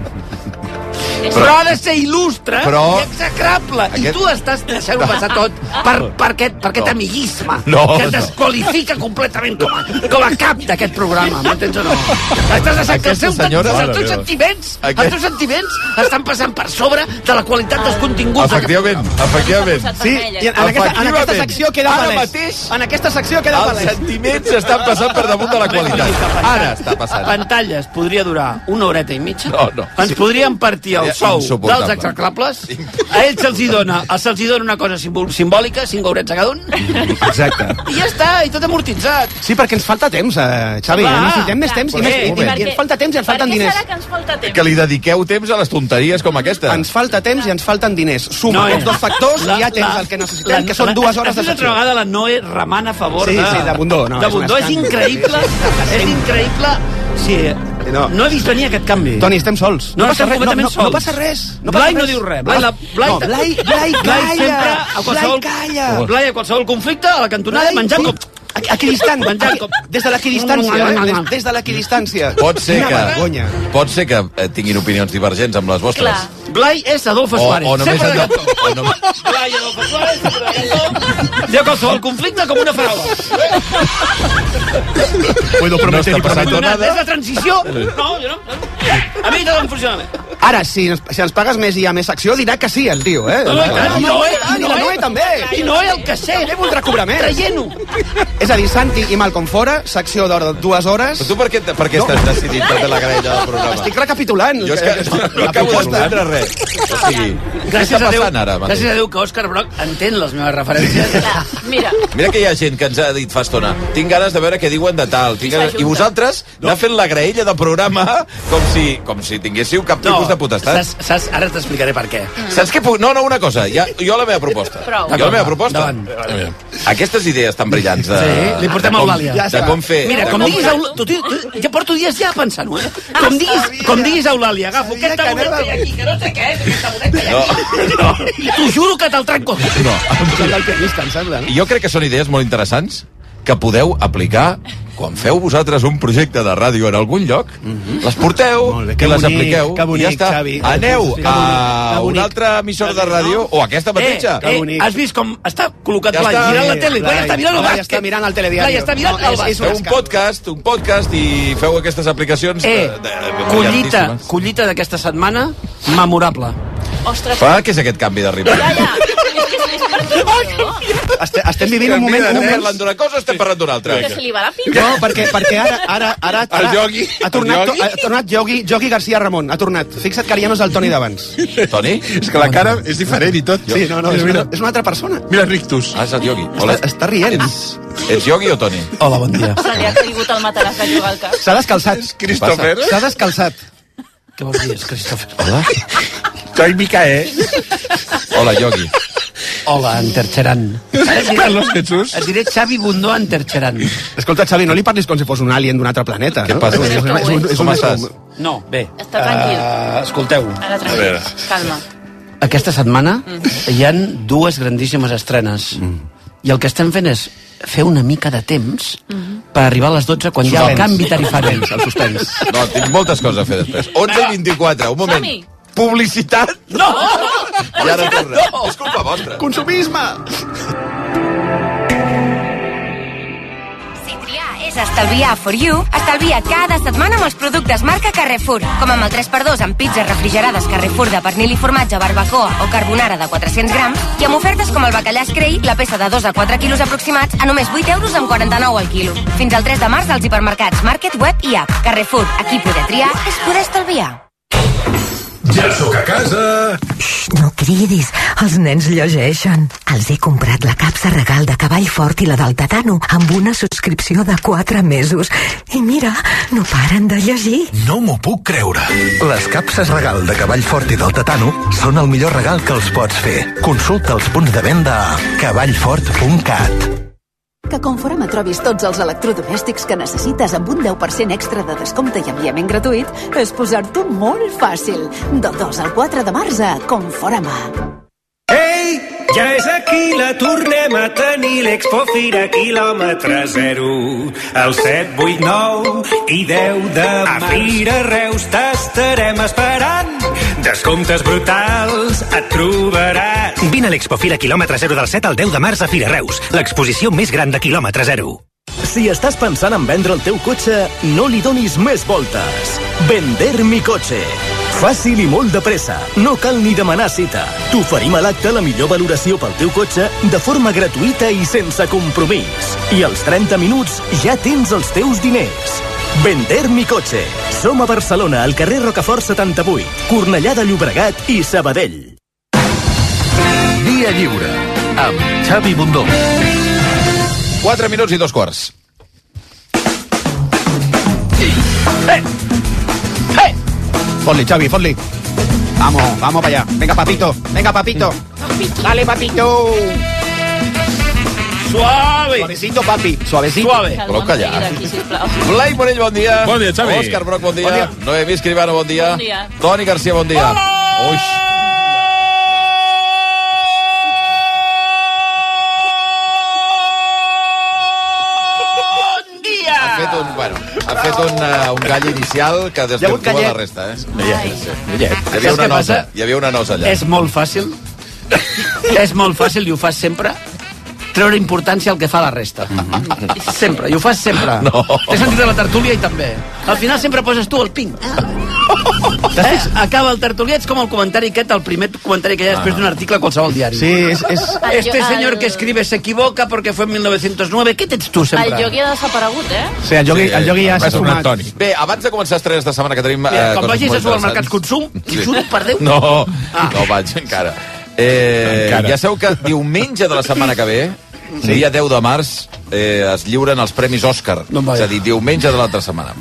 [SPEAKER 14] Però, però ha de ser il·lustre
[SPEAKER 3] Però-
[SPEAKER 14] i execrable.
[SPEAKER 3] Aquest-
[SPEAKER 14] I tu estàs deixant-ho passar tot per, per aquest, per aquest
[SPEAKER 3] No.
[SPEAKER 14] amiguisme
[SPEAKER 3] No,
[SPEAKER 14] que et
[SPEAKER 3] no.
[SPEAKER 14] desqualifica completament com a, com a cap d'aquest programa. M'entens o no? Estàs deixant que els
[SPEAKER 3] Aquesta
[SPEAKER 14] teus,
[SPEAKER 3] senyora-
[SPEAKER 14] els teus sentiments,
[SPEAKER 3] Aquest-
[SPEAKER 14] els teus sentiments estan passant per sobre de la qualitat dels continguts.
[SPEAKER 3] Efectivament, efectivament.
[SPEAKER 5] Sí, i en, aquesta, en aquesta
[SPEAKER 3] Efectivament.
[SPEAKER 5] secció queda
[SPEAKER 3] Ara
[SPEAKER 5] palès.
[SPEAKER 3] mateix
[SPEAKER 5] En aquesta secció queda
[SPEAKER 3] els
[SPEAKER 5] palès.
[SPEAKER 3] sentiments estan passant per damunt de la qualitat. Ara està passant.
[SPEAKER 14] Pantalles podria durar una horeta i mitja.
[SPEAKER 3] No, no.
[SPEAKER 14] Ens
[SPEAKER 3] Sí.
[SPEAKER 14] podríem partir el
[SPEAKER 3] Seria
[SPEAKER 14] sou
[SPEAKER 3] insuportable.
[SPEAKER 14] dels execrables. A ells se'ls hi dona, a se'ls hi dona una cosa simbol- simbòlica, cinc haurets a cada un,
[SPEAKER 5] Exacte.
[SPEAKER 14] i ja està, i tot amortitzat.
[SPEAKER 5] Sí, perquè ens falta temps, eh, Xavi.
[SPEAKER 14] Clar.
[SPEAKER 5] Necessitem més temps i,
[SPEAKER 14] Clar,
[SPEAKER 5] més, i,
[SPEAKER 14] sí,
[SPEAKER 5] i, i ens falta temps i ens falten diners.
[SPEAKER 13] que ens falta temps?
[SPEAKER 3] Que li dediqueu temps a les tonteries com aquesta.
[SPEAKER 5] Ens falta temps i ens falten diners. Suma
[SPEAKER 14] No, eh.
[SPEAKER 5] els dos factors
[SPEAKER 14] La-
[SPEAKER 5] i ja tens
[SPEAKER 14] la-
[SPEAKER 5] el que necessitem, que són dues hores de
[SPEAKER 14] Has vist
[SPEAKER 5] secció.
[SPEAKER 14] altra vegada la Noe remant a favor
[SPEAKER 5] Sí,
[SPEAKER 14] de...
[SPEAKER 5] sí, de Bundó, no,
[SPEAKER 14] de
[SPEAKER 5] és un
[SPEAKER 14] Bundó. És,
[SPEAKER 5] escàndol.
[SPEAKER 14] increïble, és increïble. Sí, no. no he vist venir aquest canvi.
[SPEAKER 5] Toni, estem sols.
[SPEAKER 14] No, estem
[SPEAKER 5] res, no,
[SPEAKER 14] completament
[SPEAKER 5] no, no
[SPEAKER 14] sols.
[SPEAKER 5] passa res. No passa
[SPEAKER 14] Blai
[SPEAKER 5] res.
[SPEAKER 14] no diu res. Blai, la, Blai,
[SPEAKER 5] no, Blai,
[SPEAKER 14] Blai
[SPEAKER 5] Blai, calla.
[SPEAKER 14] sempre a qualsevol...
[SPEAKER 5] Blai, calla.
[SPEAKER 14] Blai a qualsevol conflicte, a la cantonada, menjant com...
[SPEAKER 5] Aquí- Equidistant,
[SPEAKER 14] Menjant
[SPEAKER 5] aquí-
[SPEAKER 14] com...
[SPEAKER 5] des de l'equidistància, eh? Des- Des de l'equidistància.
[SPEAKER 3] Pot ser
[SPEAKER 5] Quina
[SPEAKER 3] que,
[SPEAKER 5] vergonya.
[SPEAKER 3] pot ser que eh, tinguin opinions divergents amb les vostres.
[SPEAKER 14] Blai és Adolfo
[SPEAKER 3] O,
[SPEAKER 14] Suárez.
[SPEAKER 3] o només...
[SPEAKER 14] sempre de
[SPEAKER 3] en-
[SPEAKER 14] cantó.
[SPEAKER 3] o només...
[SPEAKER 14] Blai, Adolfo Suárez, sempre de cantó. Diu qualsevol conflicte com una paraula.
[SPEAKER 3] Bueno, no està passant
[SPEAKER 14] És
[SPEAKER 3] nada.
[SPEAKER 14] la transició... No, jo no... A mi tot em funciona bé.
[SPEAKER 5] Ara, si, ens- si ens pagues més i hi ha més secció, dirà que sí, el tio, eh?
[SPEAKER 14] No, no, eh? i tant, i Noé,
[SPEAKER 5] I la Noé també.
[SPEAKER 14] I Noé, el que sé.
[SPEAKER 5] També voldrà cobrar més.
[SPEAKER 14] Traient-ho.
[SPEAKER 5] És a dir, Santi i Malcom fora, secció d'hora de dues hores.
[SPEAKER 3] Però tu per què, per què estàs decidint tota la grella del programa?
[SPEAKER 5] Estic recapitulant. Eh,
[SPEAKER 3] Jo és que no, no [LAUGHS] acabo d'entendre res. O sigui, què
[SPEAKER 14] Gràcies
[SPEAKER 3] està
[SPEAKER 14] a, Déu,
[SPEAKER 3] passant ara mateix?
[SPEAKER 14] gràcies a Déu que Òscar Brock entén les meves referències.
[SPEAKER 13] Mira,
[SPEAKER 3] Mira que hi ha gent que ens ha dit fa estona tinc ganes de veure què diuen de tal. Tinc ganes... I vosaltres no. anar fent la graella de programa com si, com si tinguéssiu cap tipus de potestat.
[SPEAKER 14] saps, saps, ara t'explicaré per què.
[SPEAKER 3] Saps què puc... No, no, una cosa. Ja, jo la meva proposta.
[SPEAKER 14] Prou.
[SPEAKER 3] Jo la meva
[SPEAKER 14] D'acord,
[SPEAKER 3] proposta. Aquestes idees tan brillants de,
[SPEAKER 14] Sí, li portem
[SPEAKER 3] de,
[SPEAKER 14] a
[SPEAKER 3] com,
[SPEAKER 14] Eulàlia.
[SPEAKER 3] de com fer...
[SPEAKER 14] Mira,
[SPEAKER 3] de
[SPEAKER 14] com diguis...
[SPEAKER 3] fer-
[SPEAKER 14] Eulà- Tu, tu, tu, ja porto dies ja pensant-ho, eh? Com diguis, com diguis a Eulàlia, agafo aquest tabonet que hi ha aquí, que no sé què és, aquest tabonet que hi ha aquí. No. T'ho juro que te'l trenco.
[SPEAKER 3] No.
[SPEAKER 5] El pianista, em sembla, no?
[SPEAKER 3] Jo crec que són idees molt interessants que podeu aplicar quan feu vosaltres un projecte de ràdio en algun lloc, les porteu
[SPEAKER 5] Mhm. Molt bé,
[SPEAKER 3] i
[SPEAKER 5] que
[SPEAKER 3] les
[SPEAKER 5] bonic,
[SPEAKER 3] apliqueu
[SPEAKER 5] que bonic,
[SPEAKER 3] i ja està.
[SPEAKER 5] Xavi.
[SPEAKER 3] Aneu
[SPEAKER 5] Sí, que bonic,
[SPEAKER 3] a
[SPEAKER 5] que
[SPEAKER 3] una
[SPEAKER 5] bonic.
[SPEAKER 3] altra emissora de ràdio o a aquesta mateixa.
[SPEAKER 14] Eh, eh, has vist com està col·locat
[SPEAKER 3] Ja
[SPEAKER 14] ja Blai,
[SPEAKER 3] està.
[SPEAKER 14] mirant la
[SPEAKER 3] Sí,
[SPEAKER 14] tele. Blai,
[SPEAKER 5] Blai.
[SPEAKER 14] està mirant el
[SPEAKER 5] Blai
[SPEAKER 14] bàsquet.
[SPEAKER 5] està mirant el telediari.
[SPEAKER 14] Blai està mirant el
[SPEAKER 5] No, és- és
[SPEAKER 14] bàsquet.
[SPEAKER 3] Feu un podcast, un podcast i feu aquestes aplicacions de-
[SPEAKER 14] Eh,
[SPEAKER 3] de- de-
[SPEAKER 14] collita,
[SPEAKER 3] brillantíssimes.
[SPEAKER 14] collita d'aquesta setmana, memorable.
[SPEAKER 13] ostres,
[SPEAKER 3] Fa que és aquest canvi de ritme.
[SPEAKER 13] ja, ja. És que és per tu, no?
[SPEAKER 5] Este, estem vivint un moment... Un
[SPEAKER 3] Estem
[SPEAKER 5] moment
[SPEAKER 3] parlant d'una cosa, estem parlant d'una altra.
[SPEAKER 13] Que se li va la pinta.
[SPEAKER 5] no, perquè, perquè ara, ara, ara,
[SPEAKER 3] El
[SPEAKER 5] ara
[SPEAKER 3] Yogi.
[SPEAKER 5] ha tornat,
[SPEAKER 3] El Yogi.
[SPEAKER 5] ha tornat Yogi, Yogi García Ramon, ha tornat. Fixa't que ara ja no és el Toni d'abans.
[SPEAKER 3] Toni?
[SPEAKER 15] És que la cara és diferent i tot.
[SPEAKER 5] Sí, no, no, és, una,
[SPEAKER 15] mira,
[SPEAKER 5] és una altra persona.
[SPEAKER 15] mira Rictus.
[SPEAKER 3] Ah, és el Yogi. Hola.
[SPEAKER 5] Està, està rient.
[SPEAKER 3] Ets Yogi o Toni?
[SPEAKER 14] Hola, bon dia.
[SPEAKER 13] Se li ha caigut el matalàs de jugar al cap.
[SPEAKER 5] S'ha descalçat.
[SPEAKER 15] Christopher.
[SPEAKER 5] S'ha descalçat.
[SPEAKER 14] Què vols dir, Christopher?
[SPEAKER 3] Hola.
[SPEAKER 15] Soy Micael.
[SPEAKER 3] Hola, Yogi.
[SPEAKER 14] Hola, en Terceran.
[SPEAKER 15] Eh, Carlos Jesús.
[SPEAKER 14] Et diré Xavi Bundó en Terceran.
[SPEAKER 5] Escolta, Xavi, no li parlis com si fos un alien d'un altre planeta.
[SPEAKER 3] Què
[SPEAKER 5] no?
[SPEAKER 3] passa?
[SPEAKER 5] És un- és un- és un-
[SPEAKER 3] Com estàs?
[SPEAKER 14] No, bé.
[SPEAKER 13] Està tranquil.
[SPEAKER 14] eh, escolteu.
[SPEAKER 13] Ara tranquil. Calma.
[SPEAKER 14] Aquesta setmana
[SPEAKER 13] Mhm.
[SPEAKER 14] hi han dues grandíssimes estrenes. Mm. I el que estem fent és fer una mica de temps
[SPEAKER 13] Mhm.
[SPEAKER 14] per arribar a les 12 quan hi ha el
[SPEAKER 3] Suspens.
[SPEAKER 14] canvi tarifari. El suspens.
[SPEAKER 3] [LAUGHS] No, tinc moltes coses a fer després. 11 i 24, un moment.
[SPEAKER 14] Som-hi.
[SPEAKER 3] Publicitat?
[SPEAKER 14] No!
[SPEAKER 3] I ara torna.
[SPEAKER 14] No!
[SPEAKER 3] És culpa vostra.
[SPEAKER 5] Consumisme!
[SPEAKER 4] és estalviar for you, estalvia cada setmana amb els productes marca Carrefour, com amb el 3x2 amb pizzas refrigerades Carrefour de pernil i formatge, barbacoa o carbonara de 400 grams, i amb ofertes com el bacallà Escrei, la peça de 2 a 4 quilos aproximats, a només 8 euros amb 49 al quilo. Fins al 3 de març als hipermercats Market, Web i App. Carrefour, aquí poder triar és poder estalviar.
[SPEAKER 8] Ja sóc a casa!
[SPEAKER 16] No cridis, els nens llegeixen. Els he comprat la capsa regal de cavall fort i la del tatano amb una subscripció de 4 mesos. I mira, no paren de llegir.
[SPEAKER 17] No m'ho puc creure. Les capses regal de cavall fort i del tatano són el millor regal que els pots fer. Consulta els punts de venda a cavallfort.cat.
[SPEAKER 18] Que Conforama trobis tots els electrodomèstics que necessites amb un 10% extra de descompte i enviament gratuït és posar-t'ho molt fàcil. Del 2 al 4 de març a Conforama.
[SPEAKER 19] Ei, ja és aquí, la tornem a tenir, l'Expo Fira quilòmetre zero. El 7, 8, 9 i 10 de
[SPEAKER 20] Ah,
[SPEAKER 19] març. A Fira Reus t'estarem esperant. Descomptes brutals et trobaràs.
[SPEAKER 20] Vine a l'Expo Fira Kilòmetre 0 del 7 al 10 de març a Fira Reus, l'exposició més gran de quilòmetre 0.
[SPEAKER 21] Si estàs pensant en vendre el teu cotxe, no li donis més voltes. Vender mi cotxe. Fàcil i molt de pressa. No cal ni demanar cita. T'oferim a l'acte la millor valoració pel teu cotxe de forma gratuïta i sense compromís. I als 30 minuts ja tens els teus diners. Vender mi cotxe. Som a Barcelona, al carrer Rocafort 78, Cornellà de Llobregat i Sabadell.
[SPEAKER 17] Via lliure amb Xavi Bundó.
[SPEAKER 3] 4 minuts i dos quarts.
[SPEAKER 5] Eh! Eh! Fot-li, Xavi, fot-li. Vamos, vamos para allá. Venga, papito. Venga, papito. Dale, papito. Suave. Suavecito, papi. Suavecito. Suave.
[SPEAKER 3] Voleu callar? Blai Morell, bon dia.
[SPEAKER 15] Bon dia, Xavi.
[SPEAKER 3] Òscar Broc, bon dia.
[SPEAKER 15] Bon dia.
[SPEAKER 3] Noemí Escribano, bon dia.
[SPEAKER 13] Bon dia.
[SPEAKER 3] Toni Garcia, bon dia. Hola! Uix.
[SPEAKER 14] Bon dia!
[SPEAKER 3] Ha fet un, bueno, ha fet un, uh, un gall inicial que
[SPEAKER 14] Hi ha hagut
[SPEAKER 3] desvirtua
[SPEAKER 14] gallet.
[SPEAKER 3] la resta, eh?
[SPEAKER 14] Ai.
[SPEAKER 3] Sí, sí. Gallet. Hi havia
[SPEAKER 14] Saps
[SPEAKER 3] una
[SPEAKER 14] què
[SPEAKER 3] nosa,
[SPEAKER 14] passa?
[SPEAKER 3] hi havia una nosa allà.
[SPEAKER 14] És molt
[SPEAKER 3] [LAUGHS]
[SPEAKER 14] fàcil. és molt fàcil i ho fas sempre treure importància al que fa la resta. Sempre, i ho fas sempre.
[SPEAKER 3] Mhm. No.
[SPEAKER 14] T'he sentit a la tertúlia i també. Al final sempre poses tu el ping.
[SPEAKER 3] Ah.
[SPEAKER 14] Eh? Acaba el tertúlia, ets com el comentari aquest, el primer comentari que hi ha després
[SPEAKER 3] Ah.
[SPEAKER 14] d'un article a qualsevol diari.
[SPEAKER 5] Sí, és- és-
[SPEAKER 14] Este señor que escribe se equivoca porque fue en 1909. Què tens tu sempre?
[SPEAKER 13] El Yogi ha desaparegut, eh?
[SPEAKER 5] Sí, el Yogi- el Yogi ja s'ha
[SPEAKER 3] tornat
[SPEAKER 5] fumat.
[SPEAKER 3] Toni. Bé, abans de començar els trens de setmana que tenim... Eh,
[SPEAKER 14] Mira, quan
[SPEAKER 3] coses
[SPEAKER 14] vagis
[SPEAKER 3] molt
[SPEAKER 14] a supermercats
[SPEAKER 3] interessants.
[SPEAKER 14] Consum,
[SPEAKER 3] Sí.
[SPEAKER 14] i surt per Déu.
[SPEAKER 3] No, no vaig encara. Eh,
[SPEAKER 15] Encara.
[SPEAKER 3] Ja sabeu que diumenge de la setmana que ve, sí. dia 10 de març, eh, es lliuren els Premis Òscar. No és a dir, diumenge de l'altra setmana.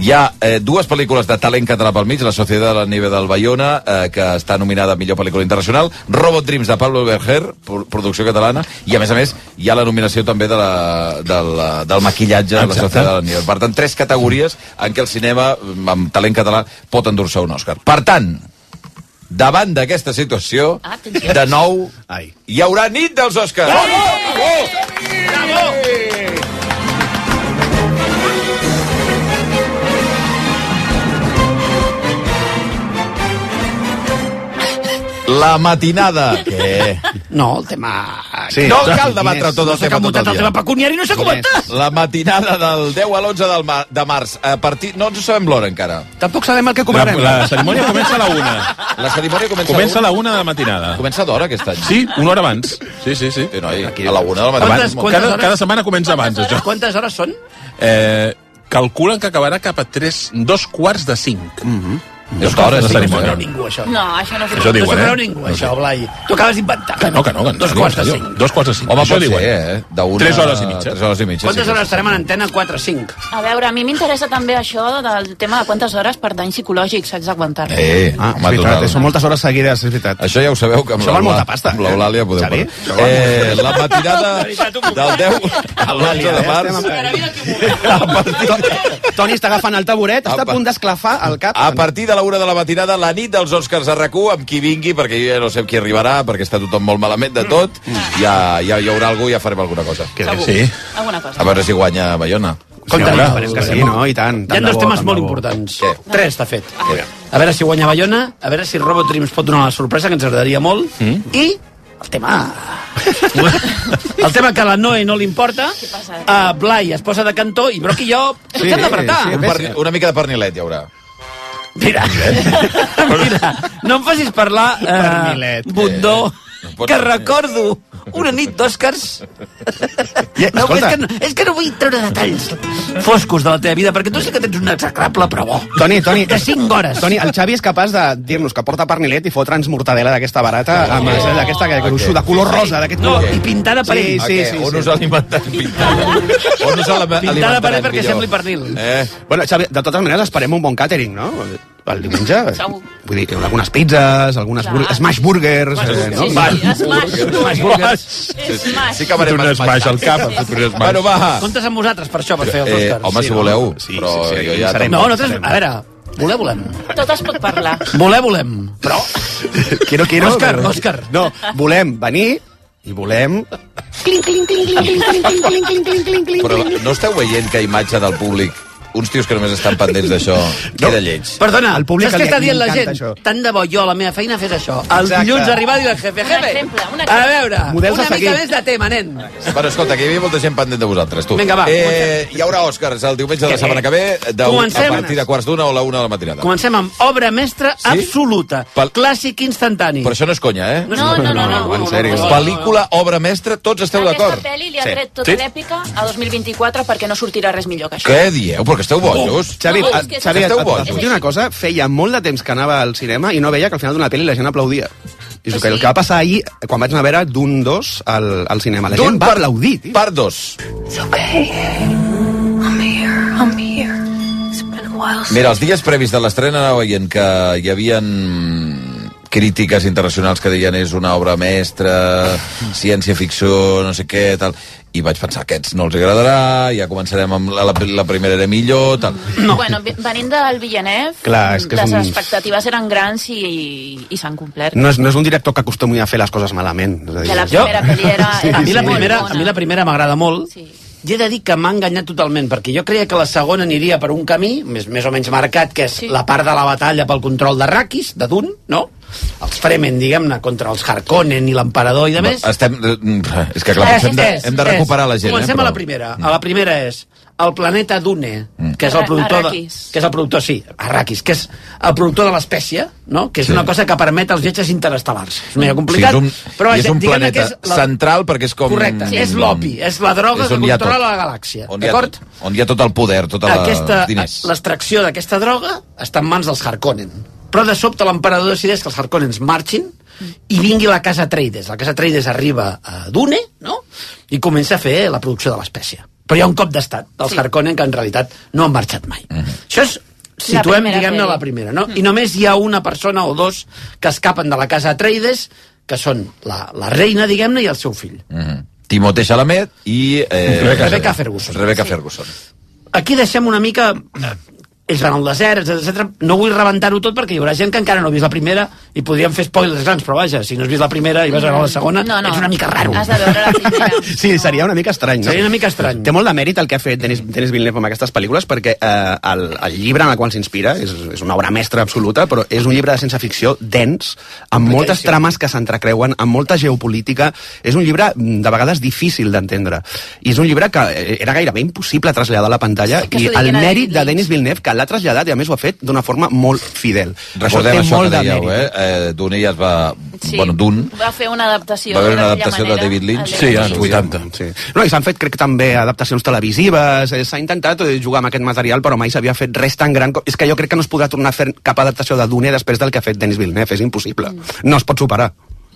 [SPEAKER 3] Hi ha eh, dues pel·lícules de talent català pel mig, La Societat de la Nieve del Bayona, eh, que està nominada a millor pel·lícula internacional, Robot Dreams de Pablo Berger, pro- producció catalana, i a més a més hi ha la nominació també de la, de la, del maquillatge de La
[SPEAKER 15] Exacte.
[SPEAKER 3] Societat de la Nieve. Per tant, tres categories en què el cinema mm, amb talent català pot endur-se un Òscar. Per tant, davant d'aquesta situació,
[SPEAKER 13] Atenció.
[SPEAKER 3] de nou, Ai. hi haurà nit dels Òscars. La matinada. Què?
[SPEAKER 14] No, el tema...
[SPEAKER 3] Sí.
[SPEAKER 5] Doncs
[SPEAKER 3] No cal debatre tot el tema tot
[SPEAKER 14] el
[SPEAKER 3] el dia.
[SPEAKER 14] tema pecuniari, no s'ha comentat.
[SPEAKER 3] La matinada del 10 a l'11 del ma de març. A partir... No ens sabem l'hora encara.
[SPEAKER 14] Tampoc sabem el que
[SPEAKER 15] La, la cerimònia comença a la una.
[SPEAKER 3] La cerimònia comença,
[SPEAKER 15] Comença a
[SPEAKER 3] a
[SPEAKER 15] la una de la matinada.
[SPEAKER 3] Comença d'hora aquest any.
[SPEAKER 15] Sí, una hora abans. Sí, sí, sí.
[SPEAKER 3] Noi, a la una de la
[SPEAKER 15] Abans,
[SPEAKER 3] matinada.
[SPEAKER 14] Quantes- quantes
[SPEAKER 15] cada,
[SPEAKER 14] hores?
[SPEAKER 15] cada setmana comença abans, això.
[SPEAKER 14] Quantes hores són?
[SPEAKER 15] Eh, calculen que acabarà cap a tres, dos quarts de cinc. Mm -hmm.
[SPEAKER 3] Mhm. Dos hores, sí,
[SPEAKER 15] cerimònia.
[SPEAKER 3] no sé.
[SPEAKER 14] Ningú, això.
[SPEAKER 13] No, això no
[SPEAKER 15] Això diuen,
[SPEAKER 14] no
[SPEAKER 15] eh?
[SPEAKER 14] sabreu ningú, això, Blai. Tu acabes d'inventar.
[SPEAKER 15] Que no, que no. Que
[SPEAKER 14] Dos quarts de cinc.
[SPEAKER 15] Dos quarts de cinc.
[SPEAKER 3] Home,
[SPEAKER 15] això
[SPEAKER 3] pot
[SPEAKER 15] diuen.
[SPEAKER 3] ser, eh? D'una-
[SPEAKER 15] Tres hores i mitja.
[SPEAKER 3] Tres hores i mitja.
[SPEAKER 14] Quantes
[SPEAKER 3] sí.
[SPEAKER 14] hores estarem en antena? 4 o 5.
[SPEAKER 13] A veure, a mi m'interessa també això del tema de quantes hores per danys psicològics haig d'aguantar-me.
[SPEAKER 3] Eh,
[SPEAKER 5] Ah, és
[SPEAKER 3] m'ha
[SPEAKER 5] veritat,
[SPEAKER 3] donat.
[SPEAKER 5] són moltes hores seguides, és veritat.
[SPEAKER 3] Això ja ho sabeu que amb
[SPEAKER 5] Això val
[SPEAKER 3] l'Eulà-
[SPEAKER 5] molta pasta.
[SPEAKER 3] amb l'Eulàlia podeu
[SPEAKER 5] Xavi?
[SPEAKER 3] parlar. Eh, la
[SPEAKER 14] [LAUGHS]
[SPEAKER 3] matinada del 10 a
[SPEAKER 14] eh?
[SPEAKER 3] l'11
[SPEAKER 5] eh?
[SPEAKER 3] de març
[SPEAKER 5] [LAUGHS] Toni està agafant el taburet, està a punt d'esclafar el cap.
[SPEAKER 3] Ah, A partir de la una de la matinada, la nit dels Oscars a rac amb qui vingui, perquè jo ja no sé amb qui arribarà, perquè està tothom molt malament de tot.
[SPEAKER 14] Mm.
[SPEAKER 3] Ja, ja hi haurà algú, ja farem alguna cosa.
[SPEAKER 13] Segur. Alguna
[SPEAKER 3] A
[SPEAKER 13] cosa.
[SPEAKER 3] veure si guanya Bayona.
[SPEAKER 14] Compte,
[SPEAKER 3] home,
[SPEAKER 14] no,
[SPEAKER 3] esperem que
[SPEAKER 5] Sí, no, i tant.
[SPEAKER 14] Hi ha
[SPEAKER 5] tant de
[SPEAKER 14] dos
[SPEAKER 5] bo,
[SPEAKER 14] temes
[SPEAKER 5] tant
[SPEAKER 14] molt
[SPEAKER 5] de bo.
[SPEAKER 14] importants. Tres, de fet. A veure si guanya Bayona, a veure si Robotrim ens pot donar la sorpresa, que ens agradaria molt,
[SPEAKER 15] Mm.
[SPEAKER 14] i el tema...
[SPEAKER 15] [LAUGHS]
[SPEAKER 14] el tema que a la Noe no li importa, a Blai es posa de cantó i Broc i jo ens hem d'apretar.
[SPEAKER 3] un per, una mica de pernilet hi haurà.
[SPEAKER 14] Mira, [LAUGHS] mira, no em facis parlar, eh, Bundó, que recordo una nit d'Oscars. No, és, que no, és que no vull treure detalls foscos de la teva vida, perquè tu sí que tens un execrable, però bo.
[SPEAKER 5] Toni, Toni...
[SPEAKER 14] De 5 hores.
[SPEAKER 5] Toni, el Xavi és capaç de dir-nos que porta parnilet i fotre'ns mortadela d'aquesta barata, amb oh, d'aquesta que gruixo, de color rosa, d'aquest
[SPEAKER 14] No,
[SPEAKER 5] color.
[SPEAKER 14] i pintada per ell.
[SPEAKER 5] Sí, sí, sí.
[SPEAKER 3] O no us alimentem
[SPEAKER 5] [LAUGHS]
[SPEAKER 3] pintada. O no us alimentem
[SPEAKER 5] Pintada per ell
[SPEAKER 14] perquè sembli pernil.
[SPEAKER 3] Eh?
[SPEAKER 5] Bueno, Xavi, de totes maneres esperem un bon càtering, no? El diumenge. Vull dir, algunes pizzas, algunes bur smash burgers... eh, no?
[SPEAKER 14] Ah,
[SPEAKER 3] [LAUGHS]
[SPEAKER 13] Smash.
[SPEAKER 3] Sí que farem
[SPEAKER 5] Fot un smash al cap,
[SPEAKER 3] Sí, sí.
[SPEAKER 5] fot un smash.
[SPEAKER 3] Bueno, va.
[SPEAKER 14] Comptes amb vosaltres per això, per fer els
[SPEAKER 3] Ah. Eh,
[SPEAKER 14] Oscars.
[SPEAKER 3] home, si voleu, però jo ja...
[SPEAKER 14] No, nosaltres, a veure, voler volem.
[SPEAKER 13] Tot es pot parlar.
[SPEAKER 14] Voler volem, però...
[SPEAKER 5] Quiero, quiero,
[SPEAKER 14] Òscar,
[SPEAKER 5] però-
[SPEAKER 14] Òscar.
[SPEAKER 5] No, volem venir i volem...
[SPEAKER 13] Cling, cling, cling, cling, cling, cling, cling, cling, cling, cling, cling, cling.
[SPEAKER 3] Però no esteu veient que a imatge del públic uns tios que només estan pendents d'això queda lleig.
[SPEAKER 14] Perdona, el públic saps què
[SPEAKER 3] li-
[SPEAKER 14] està
[SPEAKER 3] li
[SPEAKER 14] dient la
[SPEAKER 3] encanta
[SPEAKER 14] gent? Això. Tant de bo jo a la meva feina fes això. El
[SPEAKER 3] Exacte.
[SPEAKER 14] dilluns arribar i dir al jefe,
[SPEAKER 13] Un
[SPEAKER 14] jefe,
[SPEAKER 13] exemple, un
[SPEAKER 14] a
[SPEAKER 13] exemple.
[SPEAKER 14] veure,
[SPEAKER 3] Models a
[SPEAKER 14] una mica
[SPEAKER 3] seguir.
[SPEAKER 14] més de tema, nen.
[SPEAKER 3] Bueno, escolta, que hi havia molta gent pendent de vosaltres, tu.
[SPEAKER 14] Vinga, va,
[SPEAKER 3] Eh, hi haurà Òscars el diumenge de la setmana que ve, de,
[SPEAKER 14] Comencem.
[SPEAKER 3] a partir de quarts d'una o la una de la matinada.
[SPEAKER 14] Comencem amb obra mestra
[SPEAKER 3] Sí?
[SPEAKER 14] absoluta,
[SPEAKER 3] Pel-
[SPEAKER 14] clàssic instantani.
[SPEAKER 3] Però això no és conya, eh?
[SPEAKER 14] No, no, no, no, no,
[SPEAKER 13] no, en sèrio. no, no.
[SPEAKER 3] Pel·lícula, obra mestra, tots esteu
[SPEAKER 13] Aquesta
[SPEAKER 3] d'acord?
[SPEAKER 13] pel·li li ha tret tota l'èpica a 2024 perquè no sortirà res millor que això.
[SPEAKER 3] Què dieu? Però que esteu
[SPEAKER 14] Oh,
[SPEAKER 3] bojos.
[SPEAKER 5] Xavi,
[SPEAKER 13] No,
[SPEAKER 5] a-
[SPEAKER 13] és que
[SPEAKER 5] Xavi,
[SPEAKER 13] esteu
[SPEAKER 5] et- et-
[SPEAKER 13] bojos.
[SPEAKER 5] et puc dir una cosa, feia molt de temps que anava al cinema i no veia que al final d'una pel·li la gent aplaudia. I és el que, el que va passar ahir, quan vaig anar a veure d'un dos al, al cinema. La
[SPEAKER 3] Dune
[SPEAKER 5] gent va aplaudir.
[SPEAKER 3] Part dos.
[SPEAKER 12] I'm here, I'm here. It's been a while
[SPEAKER 3] Mira, els dies previs de l'estrena anava veient que hi havien crítiques internacionals que deien és una obra mestra, ciència-ficció, no sé què, tal. I vaig pensar, aquests no els agradarà, ja començarem amb la, la, la primera era millor, tal.
[SPEAKER 13] No. Bueno, ve- venint del Villeneuve,
[SPEAKER 5] Clar, és que és
[SPEAKER 13] les
[SPEAKER 5] un-
[SPEAKER 13] expectatives eren grans i, i s'han complert.
[SPEAKER 5] No és, no és un director que acostumi a fer les coses malament. És a dir,
[SPEAKER 13] Que la primera pel·li era...
[SPEAKER 14] Sí,
[SPEAKER 13] era
[SPEAKER 14] a mi la
[SPEAKER 13] molt
[SPEAKER 14] primera,
[SPEAKER 13] bona.
[SPEAKER 14] a mi la primera m'agrada molt. Sí. I he de dir que m'ha enganyat totalment, perquè jo creia que la segona aniria per un camí, més, més o menys marcat, que és sí. la part de la batalla pel control de Rakis, de Dun, no? Els Fremen, diguem-ne, contra els Harkonnen i l'emperador i de més.
[SPEAKER 3] Estem... És que clar,
[SPEAKER 14] Eh,
[SPEAKER 3] hem de,
[SPEAKER 14] és,
[SPEAKER 3] hem
[SPEAKER 14] és.
[SPEAKER 3] de recuperar la gent,
[SPEAKER 14] Comencem
[SPEAKER 3] eh?
[SPEAKER 14] a la primera. A la primera és el planeta Dune,
[SPEAKER 3] Mm.
[SPEAKER 14] que és el
[SPEAKER 13] Ara-
[SPEAKER 14] productor... De,
[SPEAKER 13] Arrakis.
[SPEAKER 14] que és el productor, sí, Arrakis, que és el productor de l'espècie, no? que és
[SPEAKER 3] Sí.
[SPEAKER 14] sí. una cosa que permet als viatges interestel·lars. És medio complicat,
[SPEAKER 3] Sí, és un,
[SPEAKER 14] però
[SPEAKER 3] i és un
[SPEAKER 14] diguem-ne
[SPEAKER 3] planeta
[SPEAKER 14] que és la-
[SPEAKER 3] central perquè és com...
[SPEAKER 14] Correcte, sí. és l'opi, és la droga
[SPEAKER 3] És
[SPEAKER 14] que
[SPEAKER 3] on hi ha
[SPEAKER 14] controla
[SPEAKER 3] tot.
[SPEAKER 14] la galàxia,
[SPEAKER 3] On hi ha
[SPEAKER 14] d'acord?
[SPEAKER 3] tot, on hi ha tot el poder, tot el
[SPEAKER 14] Aquesta-
[SPEAKER 3] tota diners.
[SPEAKER 14] L'extracció d'aquesta droga està en mans dels Harkonnen. Però de sobte l'emperador decideix que els Harkonnens marxin i vingui la casa Traides. La casa Traides arriba a Dune, no? I comença a fer la producció de l'espècie. Però hi ha un cop d'estat dels sí. Harkonnen que en realitat no han marxat mai. Això és situem,
[SPEAKER 13] primera
[SPEAKER 14] diguem-ne,
[SPEAKER 13] peli.
[SPEAKER 14] la primera, no? I només hi ha una persona o dos que escapen de la casa Atreides, que són la, la reina, diguem-ne, i el seu fill.
[SPEAKER 3] Mhm. Timothée Chalamet i... Eh,
[SPEAKER 14] Rebecca Rebecca Ferguson.
[SPEAKER 3] Rebecca
[SPEAKER 14] Sí.
[SPEAKER 3] Ferguson.
[SPEAKER 14] aquí deixem una mica eh, ells van al desert, etc. No vull rebentar-ho tot perquè hi haurà gent que encara no ha vist la primera i podríem fer spoilers grans, però vaja, si no has vist la primera i vas a veure la segona, no, no. ets una mica raro.
[SPEAKER 13] Has de veure la primera.
[SPEAKER 5] [LAUGHS] Sí, seria una mica estrany, no?
[SPEAKER 14] Seria una mica estrany.
[SPEAKER 5] Té molt de mèrit el que ha fet Denis, Denis Villeneuve amb aquestes pel·lícules perquè eh, el, el llibre en el qual s'inspira és, és una obra mestra absoluta, però és un llibre de ciència ficció dens, amb moltes trames que s'entrecreuen, amb molta geopolítica. És un llibre, mm, de vegades, difícil d'entendre. I és un llibre que eh, era gairebé impossible traslladar a la pantalla
[SPEAKER 13] que
[SPEAKER 5] i
[SPEAKER 13] s'ho
[SPEAKER 5] el
[SPEAKER 13] diguin a
[SPEAKER 5] mèrit
[SPEAKER 13] David
[SPEAKER 5] de Denis Villeneuve, que l'ha traslladat i, a més, ho ha fet d'una forma molt fidel.
[SPEAKER 3] Recordem
[SPEAKER 5] té
[SPEAKER 3] això,
[SPEAKER 5] molt
[SPEAKER 3] que
[SPEAKER 5] de
[SPEAKER 3] dèieu,
[SPEAKER 5] mèrit.
[SPEAKER 3] eh? eh Dune ja es va...
[SPEAKER 13] Sí.
[SPEAKER 3] Bueno, Dune.
[SPEAKER 13] Va fer una adaptació.
[SPEAKER 3] Va haver una
[SPEAKER 13] d'aquella
[SPEAKER 3] adaptació de
[SPEAKER 13] manera,
[SPEAKER 3] David Lynch.
[SPEAKER 13] a
[SPEAKER 3] Sí, als
[SPEAKER 13] Lynch.
[SPEAKER 3] 80.
[SPEAKER 5] Doncs Sí. No, i s'han fet, crec, també adaptacions televisives, eh, s'ha intentat eh, jugar amb aquest material, però mai s'havia fet res tan gran. com- És que jo crec que no es podrà tornar a fer cap adaptació de Dune després del que ha fet Denis Villeneuve, és impossible.
[SPEAKER 13] Mm.
[SPEAKER 5] No es pot superar.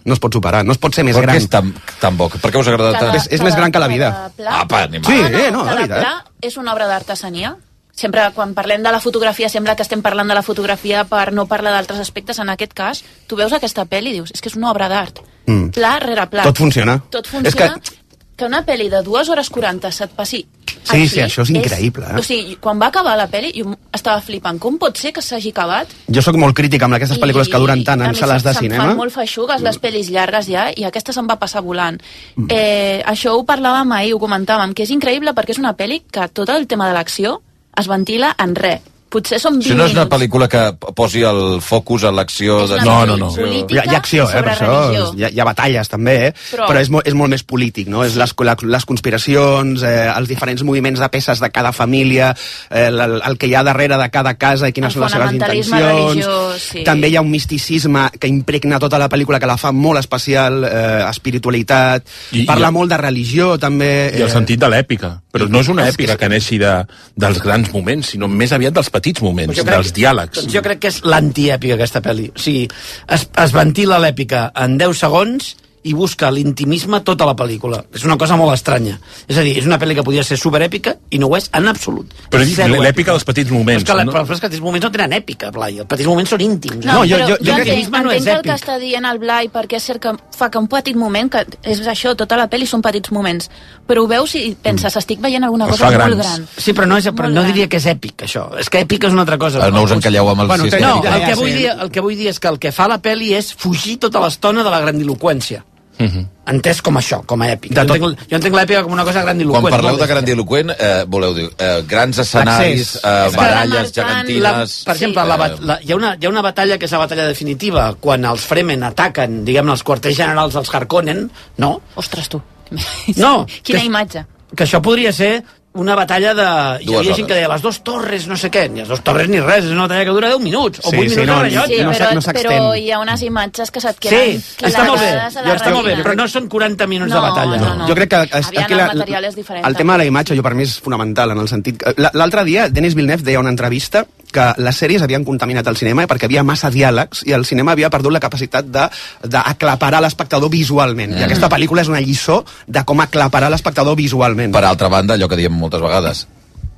[SPEAKER 5] No es pot superar, no es pot ser més
[SPEAKER 3] Per què
[SPEAKER 5] gran.
[SPEAKER 3] és tan, tan bo? Per què us agrada tant?
[SPEAKER 5] és, és més gran que la vida.
[SPEAKER 13] Pla.
[SPEAKER 3] Apa, animal.
[SPEAKER 5] Sí, eh, no, la
[SPEAKER 13] Cada
[SPEAKER 5] vida.
[SPEAKER 13] pla és una obra d'artesania. Sempre, quan parlem de la fotografia, sembla que estem parlant de la fotografia per no parlar d'altres aspectes. En aquest cas, tu veus aquesta pel·li i dius, és que és una obra d'art.
[SPEAKER 5] Mm.
[SPEAKER 13] Pla rere pla.
[SPEAKER 5] Tot funciona.
[SPEAKER 13] Tot
[SPEAKER 5] És
[SPEAKER 13] funciona.
[SPEAKER 5] que-
[SPEAKER 13] que... que una pel·li de 2 hores 40 se't passi
[SPEAKER 5] Sí,
[SPEAKER 13] Així
[SPEAKER 5] sí, això és increïble, eh?
[SPEAKER 13] O sigui, quan va acabar la pel·li, jo estava flipant. Com pot ser que s'hagi acabat?
[SPEAKER 5] Jo sóc molt crític amb aquestes pel·lícules que duren tant
[SPEAKER 13] a
[SPEAKER 5] en
[SPEAKER 13] mi
[SPEAKER 5] sales
[SPEAKER 13] se-
[SPEAKER 5] de
[SPEAKER 13] se'm
[SPEAKER 5] cinema.
[SPEAKER 13] fan molt feixugues les pel·lis llargues ja, i aquesta se'n va passar volant. Eh, això ho parlàvem ahir, ho comentàvem, que és increïble perquè és una pel·li que tot el tema de l'acció es ventila en res. Potser són 20
[SPEAKER 3] Això no és una
[SPEAKER 13] minuts.
[SPEAKER 3] pel·lícula que posi el focus a l'acció... De...
[SPEAKER 13] No, no, no.
[SPEAKER 5] Hi ha, hi ha acció, eh,
[SPEAKER 13] sobre
[SPEAKER 5] per això.
[SPEAKER 13] religió.
[SPEAKER 5] Hi ha, hi ha batalles, també, eh?
[SPEAKER 13] Però-
[SPEAKER 5] Però, Però és, mo és molt més polític, no? És les, la, les conspiracions, eh, els diferents moviments de peces de cada família, eh, el, el que hi ha darrere de cada casa i quines
[SPEAKER 13] El
[SPEAKER 5] són les seves
[SPEAKER 13] fonamentalisme
[SPEAKER 5] intencions.
[SPEAKER 13] religiós, sí.
[SPEAKER 5] També hi ha un misticisme que impregna tota la pel·lícula, que la fa molt especial, eh, espiritualitat... I, Parla molt de religió, també... eh,
[SPEAKER 15] I el sentit de l'èpica. Però no és una èpica que neixi de, dels grans moments, sinó més aviat dels petits moments,
[SPEAKER 14] Jo crec-
[SPEAKER 15] dels diàlegs.
[SPEAKER 14] Doncs jo crec que és l'antièpica, aquesta pel·li. O sigui, es, es ventila l'èpica en 10 segons i busca l'intimisme tota la pel·lícula. És una cosa molt estranya. És a dir, és una pel·li que podria ser superèpica i no ho és en absolut.
[SPEAKER 15] Però he
[SPEAKER 14] És
[SPEAKER 15] dit
[SPEAKER 14] zero èpica.
[SPEAKER 15] l'èpica dels petits
[SPEAKER 14] Però
[SPEAKER 15] moments.
[SPEAKER 14] és que, la,
[SPEAKER 15] no?
[SPEAKER 14] però és que els moments no tenen èpica, Blai. Els petits moments són íntims.
[SPEAKER 13] No, jo, jo, jo, jo
[SPEAKER 14] crec que
[SPEAKER 13] entenc,
[SPEAKER 14] l'íntimisme no
[SPEAKER 13] entenc
[SPEAKER 14] és
[SPEAKER 13] el que
[SPEAKER 14] èpic.
[SPEAKER 13] està dient el Blai, perquè és cert que fa que un petit moment, que és això, tota la pel·li són petits moments, però ho veus i penses, estic veient alguna cosa molt gran.
[SPEAKER 14] Sí, però no, és, però no diria que és èpic, això. És que èpic és una altra cosa.
[SPEAKER 3] Ah, no us encalleu amb el
[SPEAKER 14] bueno,
[SPEAKER 3] sistema.
[SPEAKER 14] No, el que,
[SPEAKER 3] Ja,
[SPEAKER 14] vull
[SPEAKER 3] sí.
[SPEAKER 14] dir, el que vull dir és que el que fa la pel·li és fugir tota l'estona de la grandiloquència.
[SPEAKER 3] Mhm.
[SPEAKER 14] Entès com això, com a èpic. Jo entenc, jo entenc l'èpica com una cosa grandiloquent.
[SPEAKER 3] Quan parleu
[SPEAKER 14] molt
[SPEAKER 3] de grandiloquent, eh, voleu dir eh, grans escenaris,
[SPEAKER 14] L'accés.
[SPEAKER 3] eh,
[SPEAKER 14] És que
[SPEAKER 3] baralles,
[SPEAKER 14] la-
[SPEAKER 3] gegantines... eh,
[SPEAKER 14] La, per exemple, la, bat- la, hi, ha una, hi ha una batalla que és la batalla definitiva, quan els Fremen ataquen, diguem els quarters generals dels Harkonnen, no?
[SPEAKER 13] Ostres, tu. [LAUGHS]
[SPEAKER 14] No,
[SPEAKER 13] Quina
[SPEAKER 14] que,
[SPEAKER 13] imatge.
[SPEAKER 14] que això podria ser una batalla de... Hi
[SPEAKER 13] Dues
[SPEAKER 14] havia gent que deia les dues torres, no sé què, ni les dues torres ni res, és una batalla que dura 10 minuts, o
[SPEAKER 5] Sí,
[SPEAKER 14] 8
[SPEAKER 5] sí,
[SPEAKER 14] minuts
[SPEAKER 5] no,
[SPEAKER 14] de rellotge.
[SPEAKER 13] però, però hi ha unes imatges que se't queden
[SPEAKER 14] Sí, està molt bé,
[SPEAKER 13] clavades a la
[SPEAKER 14] ja està molt bé,
[SPEAKER 13] retina.
[SPEAKER 14] però no són 40 minuts
[SPEAKER 13] No,
[SPEAKER 14] de batalla.
[SPEAKER 13] no, no.
[SPEAKER 5] Jo crec que... es-
[SPEAKER 13] Aviam,
[SPEAKER 5] aquí la-
[SPEAKER 13] el material és diferent.
[SPEAKER 5] El tema de la imatge, jo per mi és fonamental en el sentit... que- la- L'altre dia, Denis Villeneuve deia en una entrevista que les sèries havien contaminat el cinema perquè havia massa diàlegs i el cinema havia perdut la capacitat de- d'aclaparar l'espectador visualment. Mm. I aquesta pel·lícula és una lliçó de com aclaparar l'espectador visualment.
[SPEAKER 3] Per altra banda, allò que diem moltes vegades,